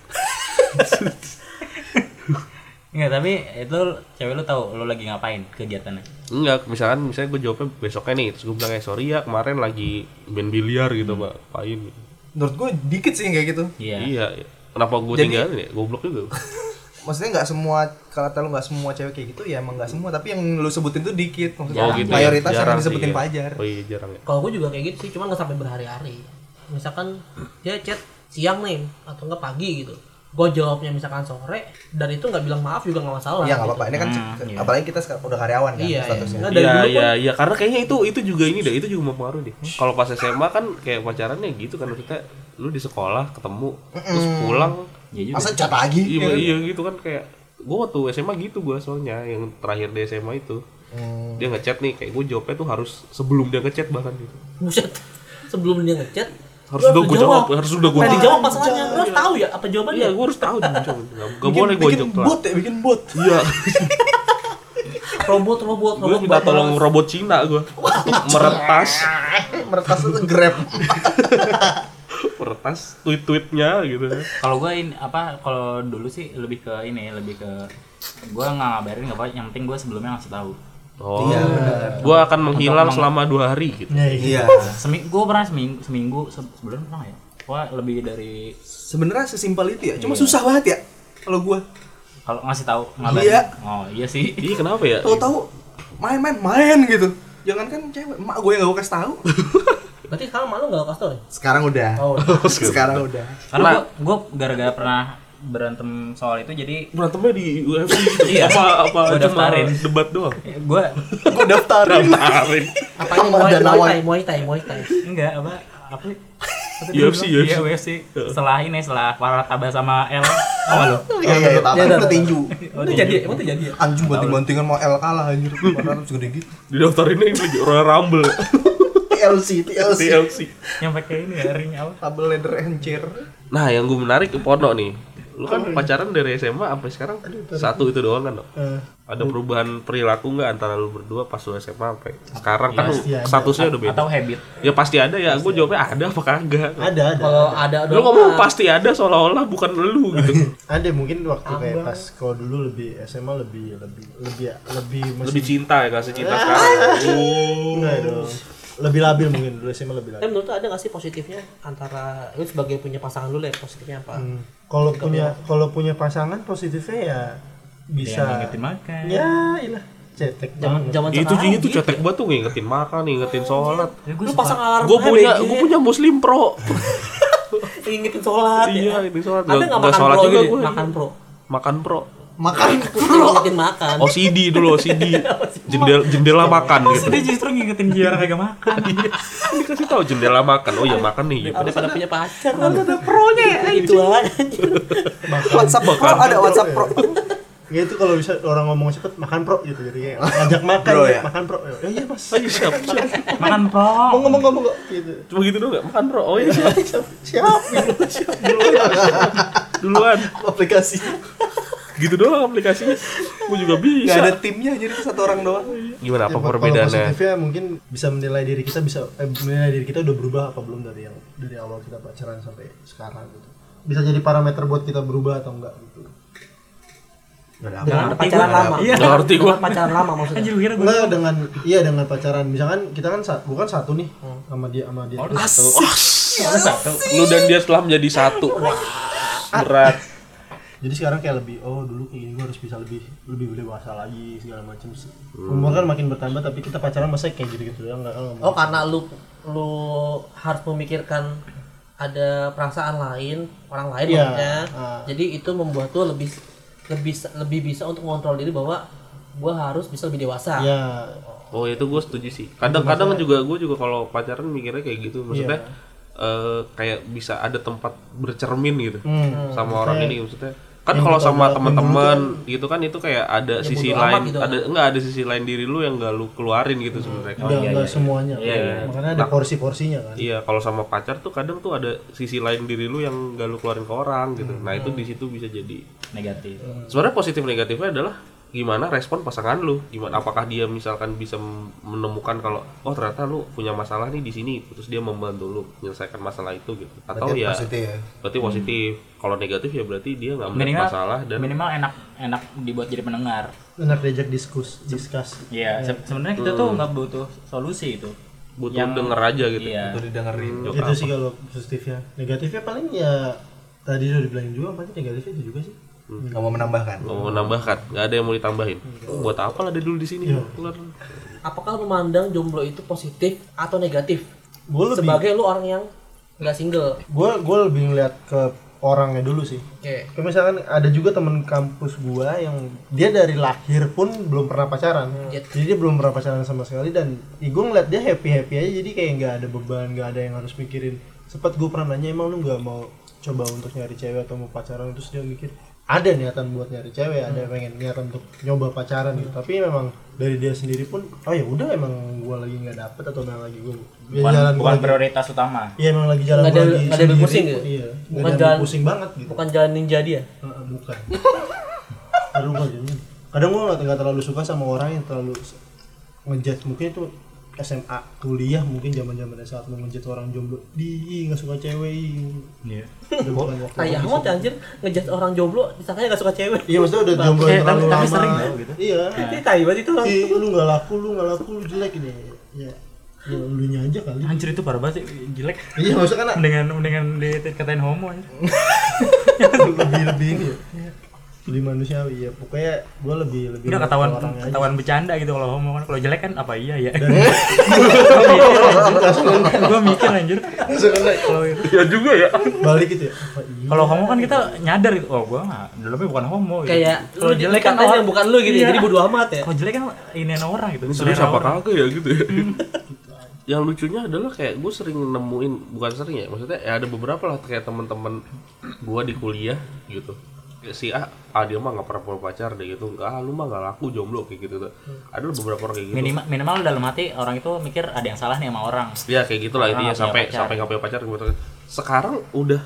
Speaker 1: Enggak, tapi itu cewek lu tahu lu lagi ngapain kegiatannya.
Speaker 6: Enggak, misalkan misalnya gue jawabnya besoknya nih, terus gue bilang kayak sorry ya kemarin lagi main biliar gitu, Pak. Pain.
Speaker 4: Menurut gue dikit sih yang kayak gitu.
Speaker 1: Iya.
Speaker 6: Iya. iya. Kenapa gue
Speaker 4: Jadi-
Speaker 6: tinggalin ya? Goblok juga.
Speaker 4: Maksudnya nggak semua kalau kata lu nggak semua cewek kayak gitu ya emang nggak semua tapi yang lu sebutin tuh dikit maksudnya
Speaker 6: Oh, gitu ya.
Speaker 4: mayoritas yang
Speaker 6: Jarang sih,
Speaker 4: disebutin
Speaker 6: iya.
Speaker 4: pajar.
Speaker 6: Oh iya, jarang ya.
Speaker 7: Kalau gue juga kayak gitu sih, cuma nggak sampai berhari-hari. Misalkan dia chat siang nih atau nggak pagi gitu. Gue jawabnya misalkan sore, dan itu nggak bilang maaf juga nggak masalah.
Speaker 4: Iya nggak
Speaker 7: gitu.
Speaker 4: apa-apa. Ini kan
Speaker 1: Hmm, iya.
Speaker 4: apalagi kita sekarang udah karyawan kan
Speaker 7: Iya, iya.
Speaker 4: statusnya.
Speaker 7: Nggak dari
Speaker 6: Iya,
Speaker 7: dulu
Speaker 6: iya, iya, karena kayaknya itu itu juga ini deh, itu juga mempengaruhi deh. Kalau pas SMA kan kayak pacarannya gitu kan maksudnya lu di sekolah ketemu, terus pulang.
Speaker 1: Iya juga.
Speaker 4: Masa cat lagi?
Speaker 6: Iya, iya gitu kan kayak gue waktu SMA gitu gue soalnya yang terakhir di SMA itu dia ngechat nih kayak gue jawabnya tuh harus sebelum dia ngechat bahkan gitu
Speaker 7: pun buset. Sebelum dia ngechat,
Speaker 6: harus udah gue jawab harus udah gue
Speaker 7: Nah, dijawab masalahnya. Lu harus tahu ya apa jawabannya.
Speaker 6: iya gue harus tahu dong coba gak boleh gue
Speaker 4: bikin
Speaker 6: jawab telat.
Speaker 4: bot ya bikin bot
Speaker 6: iya
Speaker 7: Robot, robot,
Speaker 6: gue
Speaker 7: robot.
Speaker 6: minta
Speaker 7: buat
Speaker 6: tolong
Speaker 7: balas.
Speaker 6: robot Cina gue meretas
Speaker 4: Eh, meretas itu grab
Speaker 6: meretas tweet-tweetnya gitu
Speaker 1: kalau gue ini apa kalau dulu sih lebih ke ini lebih ke gue nggak ngabarin nggak apa yang penting gue sebelumnya ngasih tahu
Speaker 6: oh gue akan menghilang selama dua hari gitu
Speaker 4: iya
Speaker 1: seminggu gue pernah seminggu seminggu se- sebulan pernah ya gue lebih dari
Speaker 4: sebenarnya sesimpel itu ya cuma susah banget ya kalau gua
Speaker 1: kalau ngasih tahu ngabarin
Speaker 4: Iya.
Speaker 1: oh iya sih
Speaker 6: iya kenapa ya
Speaker 4: tahu-tahu main-main main gitu jangan kan cewek emak gue yang gak gue kasih tahu
Speaker 7: Berarti sekarang malu enggak kasih tau ya?
Speaker 4: sekarang udah
Speaker 7: Oh,
Speaker 4: sekarang udah
Speaker 1: karena gue gara-gara pernah berantem soal itu jadi
Speaker 6: berantemnya di UFC gitu
Speaker 1: Iya.
Speaker 6: apa apa
Speaker 1: Gua
Speaker 6: cuma
Speaker 1: daftarin.
Speaker 6: debat doang
Speaker 1: gue
Speaker 4: gue daftar
Speaker 6: daftarin
Speaker 7: apa ini
Speaker 4: Sama
Speaker 7: Muay
Speaker 4: dan
Speaker 7: Muay
Speaker 4: lawan.
Speaker 7: Thai, Muay Thai, Muay Thai.
Speaker 1: enggak apa apa apa tadi
Speaker 6: UFC,
Speaker 1: gua bilang? Iya,
Speaker 6: UFC.
Speaker 1: UFC. Setelah ini setelah Warataba sama L apa lo?
Speaker 4: iya iya tapi
Speaker 7: Iya,
Speaker 4: udah
Speaker 7: iya.
Speaker 4: tinju
Speaker 7: Itu jadi, emang itu jadi ya?
Speaker 4: anjing banting-bantingan mau L kalah anjir Padahal harus gede gitu
Speaker 6: di daftarinnya ini Royal Rumble
Speaker 4: TLC TLC
Speaker 6: TLC
Speaker 1: Yang pakai ini ya, ring apa?
Speaker 4: Double ladder encer
Speaker 6: Nah, yang gue menarik Pono nih. Lu kan pacaran dari SMA sampai sekarang satu itu doang kan, Dok? Ada perubahan perilaku nggak antara lu berdua pas lu SMA sampai sekarang kan lu
Speaker 3: ada.
Speaker 6: statusnya udah beda.
Speaker 1: Atau habit.
Speaker 6: Ya pasti ada ya, gue jawabnya ada apa kagak.
Speaker 3: ada ada
Speaker 7: Kalau ada
Speaker 6: Lu ngomong pasti ada seolah-olah bukan lu gitu.
Speaker 3: ada mungkin waktu kayak pas kalau dulu lebih SMA lebih lebih lebih lebih
Speaker 6: Lebih cinta ya kasih cinta sekarang.
Speaker 3: enggak ya dong lebih labil mungkin dulu SMA lebih
Speaker 7: Tapi
Speaker 3: labil
Speaker 7: Eh, menurut lu ada nggak sih positifnya antara lu sebagai punya pasangan dulu ya positifnya apa?
Speaker 3: Hmm. kalau punya kalau punya pasangan positifnya ya bisa
Speaker 1: Yang ngingetin makan.
Speaker 3: ya ilah cetek
Speaker 7: Zaman
Speaker 3: banget.
Speaker 7: zaman
Speaker 6: Iya, Itu
Speaker 7: sekarang.
Speaker 6: jing itu cetek banget tuh ngingetin makan, ngingetin sholat.
Speaker 1: Ya, gua
Speaker 7: Lu
Speaker 1: suka-
Speaker 7: pasang alarm.
Speaker 6: Gue punya gue punya muslim pro.
Speaker 7: ingetin sholat. ya.
Speaker 6: Iya, ini sholat.
Speaker 7: Ada
Speaker 6: Nggak
Speaker 7: nggak
Speaker 6: nggak
Speaker 7: makan
Speaker 6: sholat
Speaker 7: pro
Speaker 6: juga
Speaker 7: gitu?
Speaker 6: gue.
Speaker 7: Makan pro.
Speaker 6: Makan pro.
Speaker 4: makan
Speaker 7: Ingetin makan.
Speaker 6: OCD Oh, dulu OCD. Jendela jendela makan gitu. Iya. Kan
Speaker 1: Dia justru ngingetin biar kagak makan.
Speaker 6: dikasih tahu jendela makan oh ya makan nih gitu
Speaker 7: Daripada punya pacar. ada pro-nya
Speaker 6: Iya,
Speaker 7: ya. Itu aja.
Speaker 4: WhatsApp pro ada WhatsApp pro
Speaker 3: ya itu kalau bisa orang ngomong cepet makan pro gitu jadi kayak ngajak makan
Speaker 4: Bro,
Speaker 3: ya,
Speaker 4: ya?
Speaker 3: makan pro ya iya mas
Speaker 6: oh iya siap siap
Speaker 1: makan pro.
Speaker 3: mau ngomong ngomong kok gitu
Speaker 6: cuma gitu doang nggak makan bro oh iya siap
Speaker 3: siap gitu
Speaker 6: duluan
Speaker 4: aplikasi
Speaker 6: gitu doang aplikasinya gua juga bisa
Speaker 4: nggak ada timnya jadi itu satu orang doang
Speaker 6: gimana apa
Speaker 3: Ya, kalau
Speaker 6: perbedaannya
Speaker 3: positifnya mungkin bisa menilai diri kita bisa eh, menilai diri kita udah berubah apa belum dari yang dari awal kita pacaran sampai sekarang gitu bisa jadi parameter buat kita berubah atau enggak gitu
Speaker 7: Dengan pacaran lama.
Speaker 1: Iya.
Speaker 6: Nggak ngerti gua.
Speaker 7: Dengan pacaran lama maksudnya.
Speaker 1: Anjir, gua kira gua-
Speaker 3: Enggak dengan iya dengan pacaran misalkan kita kan sa- bukan satu nih sama dia sama dia terus satu
Speaker 6: lu dan dia setelah menjadi satu berat
Speaker 3: jadi sekarang kayak lebih oh dulu kayak gini gue harus bisa lebih lebih dewasa lagi segala macam umur kan makin bertambah tapi kita pacaran masa kayak gitu gitu doang nggak kan ngomong.
Speaker 7: Oh karena lu lu harus memikirkan ada perasaan lain orang lain
Speaker 3: Iya.
Speaker 7: maksudnya.
Speaker 3: Ah.
Speaker 7: Jadi itu membuat lu lebih lebih lebih bisa untuk mengontrol diri bahwa gua harus bisa lebih dewasa.
Speaker 3: ya
Speaker 6: oh itu gue setuju sih kadang-kadang juga gue juga kalau pacaran mikirnya kayak gitu maksudnya eh, kayak bisa ada tempat bercermin gitu
Speaker 3: Hmm.
Speaker 6: sama orang ini maksudnya kan kalau sama teman-teman gitu kan itu kayak ada sisi
Speaker 7: bodo amat
Speaker 6: lain
Speaker 7: gitu
Speaker 6: ada enggak ada sisi lain diri lu yang gak lu keluarin gitu sebenarnya
Speaker 3: nggak nggak semuanya makanya ada porsi porsinya kan
Speaker 6: Iya, kalau sama pacar tuh kadang tuh ada sisi lain diri lu yang gak lu keluarin ke orang gitu. Nah, itu di situ bisa jadi.
Speaker 1: Negatif.
Speaker 6: Sebenarnya positif negatifnya adalah gimana respon pasangan lu. Gimana apakah dia misalkan bisa m- menemukan kalau oh ternyata lu punya masalah nih di sini, terus dia membantu lu menyelesaikan masalah itu gitu. Atau ya
Speaker 4: ya
Speaker 6: berarti positif. Kalau negatif ya berarti dia nggak melihat
Speaker 1: Minimal
Speaker 6: masalah dan
Speaker 1: minimal enak enak dibuat jadi pendengar.
Speaker 3: enak diajak diskus diskus
Speaker 1: Iya, se- sebenarnya kita
Speaker 6: Hmm.
Speaker 1: tuh nggak butuh solusi itu.
Speaker 6: butuh denger aja gitu.
Speaker 1: Iya.
Speaker 4: didengerin
Speaker 6: Nggak
Speaker 3: itu
Speaker 6: apa-apa.
Speaker 3: sih kalau positifnya negatifnya paling ya tadi sudah dibilangin juga paling negatifnya itu juga sih
Speaker 4: nggak mau menambahkan
Speaker 6: Nggak mau menambahkan, nggak ada yang mau ditambahin. Buat apa lah ada dulu di sini? Keluar.
Speaker 7: Apakah lu memandang jomblo itu positif atau negatif?
Speaker 3: gue lebih
Speaker 7: Sebagai lu orang yang nggak single.
Speaker 3: gue gue lebih ngeliat ke orangnya dulu sih
Speaker 7: Oke.
Speaker 3: Kayak misalkan ada juga temen kampus gua yang dia dari lahir pun belum pernah pacaran.
Speaker 7: Iya.
Speaker 3: Jadi dia belum pernah pacaran sama sekali dan ya gue ngeliat dia happy-happy aja jadi kayak nggak ada beban, nggak ada yang harus mikirin. Sempat gue pernah nanya emang lu nggak mau coba untuk nyari cewek atau mau pacaran terus dia mikir ada niatan buat nyari cewek, ada
Speaker 7: Hmm.
Speaker 3: pengen niatan untuk nyoba pacaran gitu. Tapi memang dari dia sendiri pun, oh ya udah emang gua lagi nggak dapet atau memang lagi gua ya
Speaker 1: bukan,
Speaker 3: jalan gua
Speaker 1: bukan
Speaker 3: lagi-
Speaker 1: prioritas utama
Speaker 3: Iya emang lagi jalan
Speaker 7: Nggak
Speaker 3: gua
Speaker 7: ada-
Speaker 3: lagi
Speaker 7: nggak ada yang
Speaker 3: sendiri,
Speaker 7: pusing gitu?
Speaker 3: Iya,
Speaker 7: Bukan
Speaker 3: bukan
Speaker 7: jalan-
Speaker 3: pusing banget gitu.
Speaker 7: bukan ya? jalan ninja dia
Speaker 3: Heeh, bukan. Aduh, gua jadi- Kadang gua nggak nggak terlalu suka sama orang yang terlalu s- ngejudge mungkin itu SMA kuliah mungkin zaman zamannya saat lu ngejudge orang jomblo di nggak suka cewek ih."
Speaker 1: Iya.
Speaker 3: Udah bukan waktu
Speaker 7: kayak
Speaker 3: lagi
Speaker 7: mau
Speaker 3: suka.
Speaker 7: anjir ngejat orang jomblo disangkanya gak suka cewek
Speaker 3: iya maksudnya udah jomblo
Speaker 1: Eh,
Speaker 3: yang terlalu
Speaker 1: tapi- tapi
Speaker 3: lama
Speaker 1: sering tau
Speaker 3: gitu. iya
Speaker 7: ini tai banget itu orang
Speaker 3: Ih, lu nggak laku lu nggak laku lu jelek ini ya ya lu aja kali
Speaker 1: Anjir itu parah banget sih, jelek.
Speaker 3: iya maksudnya kan
Speaker 1: Dengan dengan dikatain homo anjir.
Speaker 7: Iya,
Speaker 3: lebih lebih ini ya lebih manusiawi ya pokoknya gua lebih lebih
Speaker 1: Udah
Speaker 3: ngerti
Speaker 1: ketahuan
Speaker 3: orangnya aja.
Speaker 1: ketahuan bercanda gitu kalau homo kan. Kalau jelek kan apa iya ya.
Speaker 3: Dan-
Speaker 1: Gua mikir anjir.
Speaker 3: Langsung kena.
Speaker 1: Kalau
Speaker 6: Iya juga ya.
Speaker 3: balik gitu ya apa iya
Speaker 1: kalau homo kan kita nyadar gitu. Oh, gua mah dalamnya bukan homo gitu.
Speaker 7: kayak lu
Speaker 1: kalau jelek kan
Speaker 7: dikatain
Speaker 1: orang
Speaker 7: yang bukan lu gitu ya,
Speaker 1: Iya.
Speaker 7: jadi bodo amat ya
Speaker 1: Kalau jelek kan ini orang gitu.
Speaker 6: Ini serius
Speaker 1: selera
Speaker 6: apa
Speaker 1: orang.
Speaker 6: kagak ya gitu ya. Yang lucunya adalah kayak gue sering nemuin bukan sering ya maksudnya ya ada beberapa lah kayak teman-teman gue di kuliah gitu Kayak si A, ah dia mah nggak pernah punya pacar deh gitu ah lu mah nggak laku jomblo kayak gitu tuh ada beberapa orang kayak gitu
Speaker 1: Minimal minimal dalam hati orang itu mikir ada yang salah nih sama orang.
Speaker 6: ya kayak gitulah
Speaker 1: Orang
Speaker 6: intinya
Speaker 1: Ah, nggak punya
Speaker 6: sampai
Speaker 1: pacar.
Speaker 6: sampai nggak punya pacar gitu sekarang udah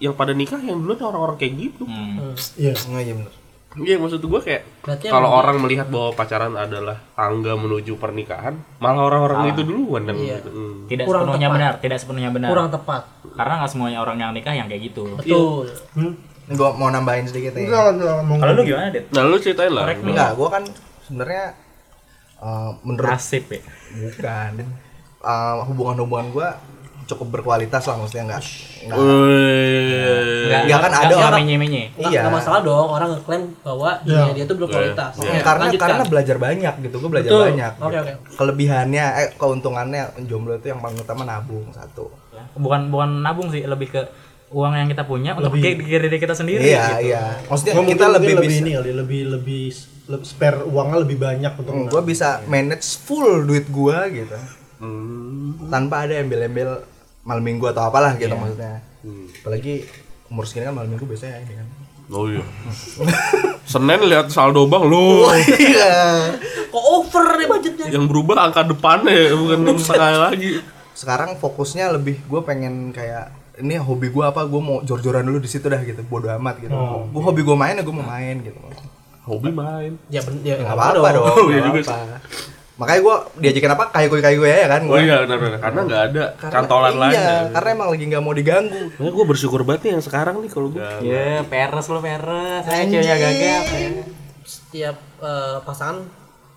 Speaker 6: yang pada nikah yang duluan orang-orang kayak gitu
Speaker 1: Hmm.
Speaker 3: iya
Speaker 4: Nggak iya bener.
Speaker 6: Iya maksud gue kayak
Speaker 7: Berarti
Speaker 4: Iya,
Speaker 6: kalau
Speaker 7: emang-
Speaker 6: orang melihat bahwa pacaran adalah tangga menuju pernikahan,
Speaker 4: Ah.
Speaker 6: malah orang-orang itu duluan yang
Speaker 7: Iya.
Speaker 6: gitu. Hmm.
Speaker 1: Tidak
Speaker 7: Kurang
Speaker 1: sepenuhnya
Speaker 7: tepat.
Speaker 1: benar, tidak sepenuhnya benar.
Speaker 7: kurang tepat
Speaker 1: Karena nggak semuanya orang yang nikah yang kayak gitu.
Speaker 7: betul
Speaker 3: hmm?
Speaker 4: Ini gua mau nambahin sedikit ya.
Speaker 3: enggak enggak ngomong
Speaker 1: Kalau lu gimana, Det?
Speaker 6: Nah lu ceritain lah.
Speaker 1: Korek
Speaker 4: Enggak, gua kan sebenarnya eh, menurut
Speaker 1: Nasib ya.
Speaker 4: bukan Eh, hubungan-hubungan gua cukup berkualitas lah maksudnya enggak.
Speaker 6: Wih.
Speaker 1: Enggak,
Speaker 4: Ya kan ada
Speaker 1: enggak
Speaker 4: orang-
Speaker 1: menye-menye.
Speaker 7: nggak
Speaker 4: Iya.
Speaker 7: nggak masalah dong orang ngeklaim bahwa
Speaker 3: Iya.
Speaker 7: dia dia tuh berkualitas
Speaker 6: Iya.
Speaker 7: Oke,
Speaker 4: karena
Speaker 7: lanjutkan.
Speaker 4: karena belajar banyak gitu, gua belajar
Speaker 7: Betul.
Speaker 4: banyak.
Speaker 7: Oke, oke.
Speaker 4: Kelebihannya eh keuntungannya jomblo itu yang paling utama nabung satu.
Speaker 1: bukan bukan nabung sih lebih ke uang yang kita punya untuk
Speaker 3: Lebih.
Speaker 1: di diri diri kita sendiri
Speaker 4: Iya,
Speaker 1: gitu.
Speaker 4: iya. Maksudnya
Speaker 3: Gua mungkin-
Speaker 4: kita
Speaker 3: mungkin
Speaker 4: lebih,
Speaker 3: lebih
Speaker 4: bisa
Speaker 3: ini kali lebih lebih lebih spare uangnya lebih banyak untuk nah.
Speaker 4: Hmm, gua bisa manage full duit gua gitu.
Speaker 6: Hmm.
Speaker 4: Tanpa ada embel-embel malam minggu atau apalah gitu maksudnya. Apalagi umur segini kan malam minggu biasanya ini kan.
Speaker 6: Oh iya. Senin lihat saldo bang lo
Speaker 4: Iya.
Speaker 7: kok over nih budgetnya
Speaker 6: yang berubah angka depannya bukan sekali lagi.
Speaker 4: sekarang fokusnya lebih gue pengen kayak ini hobi gue apa gue mau jor-joran dulu di situ dah gitu bodo amat gitu gue hobi gue main ya gue mau main gitu
Speaker 6: Hobi main.
Speaker 7: ya ben- ya
Speaker 4: nggak apa apa dong
Speaker 6: Oh, iya
Speaker 4: nggak
Speaker 6: juga
Speaker 4: apa-apa. makanya gue diajakin apa kayak gue kayak gue ya kan
Speaker 6: Oh
Speaker 4: gua.
Speaker 6: iya benar benar. Karena nggak ada
Speaker 4: Karena-
Speaker 6: kantolan
Speaker 4: iya,
Speaker 6: lain. ya.
Speaker 4: karena emang lagi nggak mau diganggu
Speaker 6: Makanya gue bersyukur banget nih yang sekarang nih kalau gue.
Speaker 1: Ya, peres lo peres. Saya ceweknya gagal.
Speaker 7: setiap eh, pasangan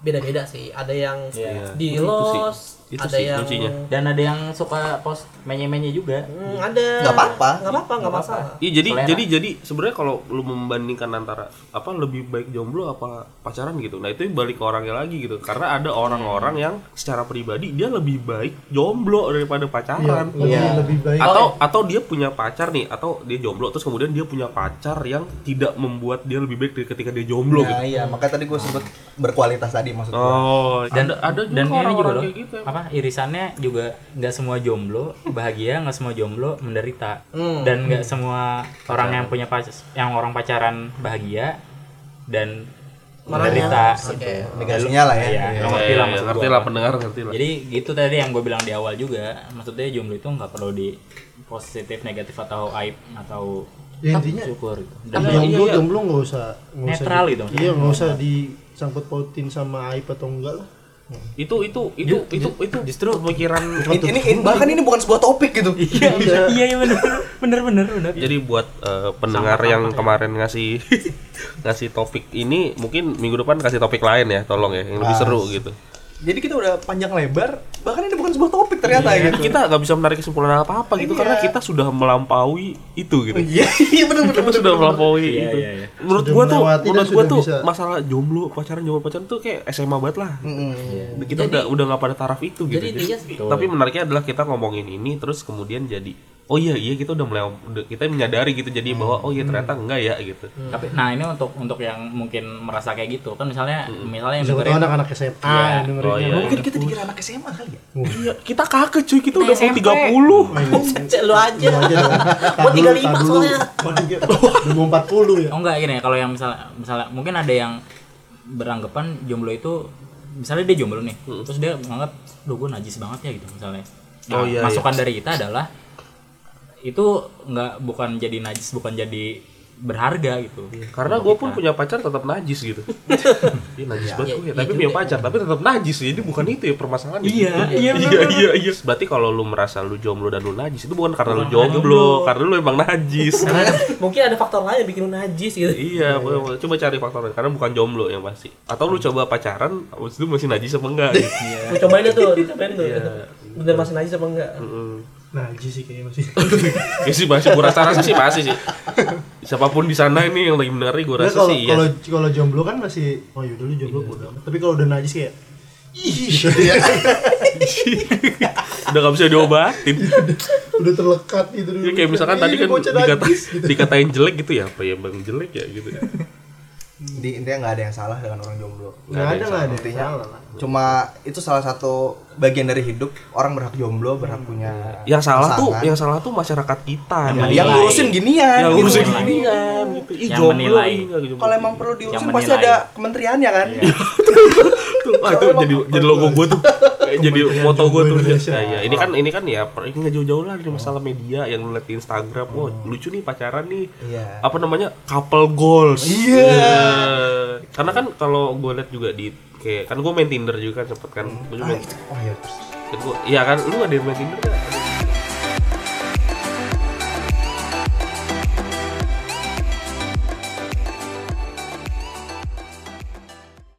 Speaker 7: beda-beda sih ada yang
Speaker 1: Iya.
Speaker 7: di
Speaker 6: Itu sih.
Speaker 7: los
Speaker 6: Itu
Speaker 7: ada
Speaker 6: sih
Speaker 7: yang
Speaker 6: kuncinya.
Speaker 1: Dan ada yang suka post menye-menye juga.
Speaker 7: Hmm, ada
Speaker 4: Nggak apa-apa.
Speaker 7: nggak apa-apa nggak masalah
Speaker 6: Iya jadi
Speaker 1: Selera.
Speaker 6: jadi jadi sebenarnya kalau lu membandingkan antara apa lebih baik jomblo apa pacaran gitu. Nah itu balik ke orangnya lagi gitu. Karena ada orang-orang yang secara pribadi dia lebih baik jomblo daripada
Speaker 3: iya,
Speaker 6: pacaran.
Speaker 3: lebih lebih baik
Speaker 6: Atau atau dia punya pacar nih atau dia jomblo terus kemudian dia punya pacar yang tidak membuat dia lebih baik dari ketika dia jomblo
Speaker 4: nah
Speaker 6: gitu.
Speaker 4: iya makanya tadi gue sebut berkualitas tadi maksud gue
Speaker 6: Oh,
Speaker 1: Dan
Speaker 6: ada ada juga
Speaker 1: dan ini juga
Speaker 6: orang-orang
Speaker 1: loh.
Speaker 6: kayak gitu. ya.
Speaker 1: Apa irisannya juga nggak semua jomblo bahagia, nggak semua jomblo menderita.
Speaker 4: Hmm.
Speaker 1: Dan nggak semua orang yang punya pacar yang orang pacaran bahagia dan menderita
Speaker 7: Oke.
Speaker 4: negasinya lah ya,
Speaker 1: Iya,
Speaker 4: Iya.
Speaker 1: lo ngerti lah
Speaker 6: Eh,
Speaker 1: maksud
Speaker 6: ngerti
Speaker 1: gua.
Speaker 6: lah pendengar ngerti lah.
Speaker 1: Jadi gitu tadi yang gue bilang di awal juga, maksudnya jomblo itu nggak perlu di positif, negatif atau aib atau
Speaker 3: Ya, intinya
Speaker 1: syukur gitu. Dan
Speaker 3: jomblo
Speaker 6: iya,
Speaker 3: jomblo jomblo nggak usah nggak usah
Speaker 1: Netral
Speaker 3: di-
Speaker 1: gitu.
Speaker 3: iya nggak usah disangkut pautin sama aib atau enggak lah
Speaker 6: Itu itu itu itu itu justru pemikiran
Speaker 4: ini, ini, ini- bahkan ini bukan sebuah topik gitu
Speaker 1: iya, iya, iya bener, bener, bener, bener.
Speaker 6: Jadi buat eh, pendengar
Speaker 1: ya.
Speaker 6: yang kemarin ngasih ngasih topik ini mungkin minggu depan kasih topik lain ya, tolong ya,
Speaker 3: Ah.
Speaker 6: yang lebih seru gitu.
Speaker 4: jadi kita udah panjang lebar bahkan ini bukan sebuah topik ternyata
Speaker 1: Iya.
Speaker 6: Karena
Speaker 4: gitu
Speaker 6: kita nggak bisa menarik kesimpulan apa apa gitu
Speaker 3: Iya.
Speaker 6: karena kita sudah melampaui itu gitu.
Speaker 4: iya iya bener bener
Speaker 6: Kita
Speaker 4: bener,
Speaker 6: sudah
Speaker 4: bener.
Speaker 6: melampaui
Speaker 1: Iya,
Speaker 6: itu.
Speaker 1: iya, iya.
Speaker 6: Menurut
Speaker 3: Sudah
Speaker 6: gua tuh,
Speaker 3: melewati dan
Speaker 6: menurut gua
Speaker 3: sudah
Speaker 6: tuh
Speaker 3: bisa.
Speaker 6: masalah jomblo pacaran jomblo pacaran tuh kayak SMA banget lah.
Speaker 1: Iya.
Speaker 6: Kita udah udah nggak pada taraf itu gitu.
Speaker 7: jadi intinya
Speaker 6: Tapi menariknya adalah kita ngomongin ini terus kemudian jadi oh iya iya kita udah mulai udah- kita menyadari gitu
Speaker 1: Hmm.
Speaker 6: jadi bahwa oh iya ternyata
Speaker 3: Mm.
Speaker 6: enggak ya gitu
Speaker 1: tapi nah ini untuk untuk yang mungkin merasa kayak gitu kan misalnya
Speaker 4: Hmm.
Speaker 1: misalnya yang
Speaker 3: Siapa tahu
Speaker 1: dengerin
Speaker 3: anak-anak SMA yang dengerin. ya.
Speaker 6: oh iya.
Speaker 3: Mungkin
Speaker 4: Mungkin kita dikira anak SMA kali ya.
Speaker 6: iya kita kakek cuy kita udah mau 30
Speaker 7: Cek lu aja.
Speaker 3: Lu aja dong. Tar
Speaker 7: Gua
Speaker 3: dulu,
Speaker 7: 35
Speaker 3: tar dulu.
Speaker 7: soalnya.
Speaker 3: Waduh, dia- Udah mau 40 ya.
Speaker 6: Iya.
Speaker 1: oh enggak gini kalau yang misalnya misalnya mungkin ada yang beranggapan jomblo itu misalnya dia jomblo nih terus dia menganggap duh gue najis banget ya gitu misalnya Nah,
Speaker 6: Hmm. Oh, iya,
Speaker 1: masukan dari kita adalah itu nggak bukan jadi najis bukan jadi berharga gitu
Speaker 6: karena gue pun punya pacar tetap najis gitu iya najis banget gue ya, tapi punya pacar tapi tetap najis jadi bukan itu ya permasalahan iya iya iya iya iya berarti kalau lu merasa lu jomblo dan lu najis itu bukan karena lu jomblo karena lu emang najis
Speaker 7: Mungkin ada faktor lain yang bikin lu najis gitu.
Speaker 6: Iya, boleh, boleh. coba cari faktornya karena bukan jomblo yang pasti. Atau lu coba pacaran, abis itu masih najis apa enggak? gitu.
Speaker 7: Lu cobain deh tuh, cobain tuh.
Speaker 6: Iya.
Speaker 7: Bener masih najis apa enggak?
Speaker 3: Nah, Ji sih kayaknya masih.
Speaker 6: Ya sih masih, gue rasa-rasa sih masih sih. Siapapun di sana ini yang lagi mendengar gue
Speaker 3: Nah,
Speaker 6: rasa
Speaker 3: kalau
Speaker 6: sih iya.
Speaker 3: kalau kalau jomblo kan masih oh yaudah lu jomblo bodo amat. Tapi kalau udah najis kayak ih
Speaker 6: Udah gak bisa diobatin.
Speaker 3: udah terlekat gitu dulu.
Speaker 6: Ya, kayak misalkan
Speaker 3: Ih,
Speaker 6: tadi
Speaker 3: ini
Speaker 6: kan
Speaker 3: bocah
Speaker 6: dikata,
Speaker 3: najis, gitu.
Speaker 6: dikatain jelek gitu ya, apa ya bang jelek ya gitu.
Speaker 4: Jadi intinya nggak ada yang salah dengan orang jomblo.
Speaker 3: Nggak ada nggak ada.
Speaker 4: Intinya
Speaker 3: Salah lah.
Speaker 4: cuma itu salah satu bagian dari hidup orang berhak jomblo berhak punya
Speaker 6: Ya, Yang salah tuh,
Speaker 4: pasangan. Ya,
Speaker 6: yang salah tuh masyarakat kita.
Speaker 1: Yang
Speaker 4: yang ngurusin ginian
Speaker 6: yang
Speaker 4: gitu.
Speaker 6: ngurusin
Speaker 1: menilai.
Speaker 6: gini kan. Gitu. Ih,
Speaker 1: Yang
Speaker 6: jomblo, gitu.
Speaker 1: menilai.
Speaker 6: ih, nggak jomblo.
Speaker 4: kalau emang perlu diurusin
Speaker 1: Yang
Speaker 4: pasti
Speaker 1: menilai.
Speaker 4: ada kementeriannya kan
Speaker 6: Iya. Tuh, ah, itu jadi jadi logo gue tuh Kayak jadi moto gue tuh
Speaker 3: Indonesia.
Speaker 6: ya, ya. ini kan ini kan ya per- ini nggak jauh-jauh lah dari masalah media yang lu liat di Instagram wah
Speaker 3: Hmm.
Speaker 6: lucu nih pacaran nih
Speaker 4: Iya.
Speaker 6: apa namanya couple goals iya karena kan kalau gue liat juga di
Speaker 3: Ah,
Speaker 6: kayak kan gue main Tinder juga kan sempet kan gue juga
Speaker 4: oh iya
Speaker 6: gua- iya kan lu ada yang main Tinder nggak?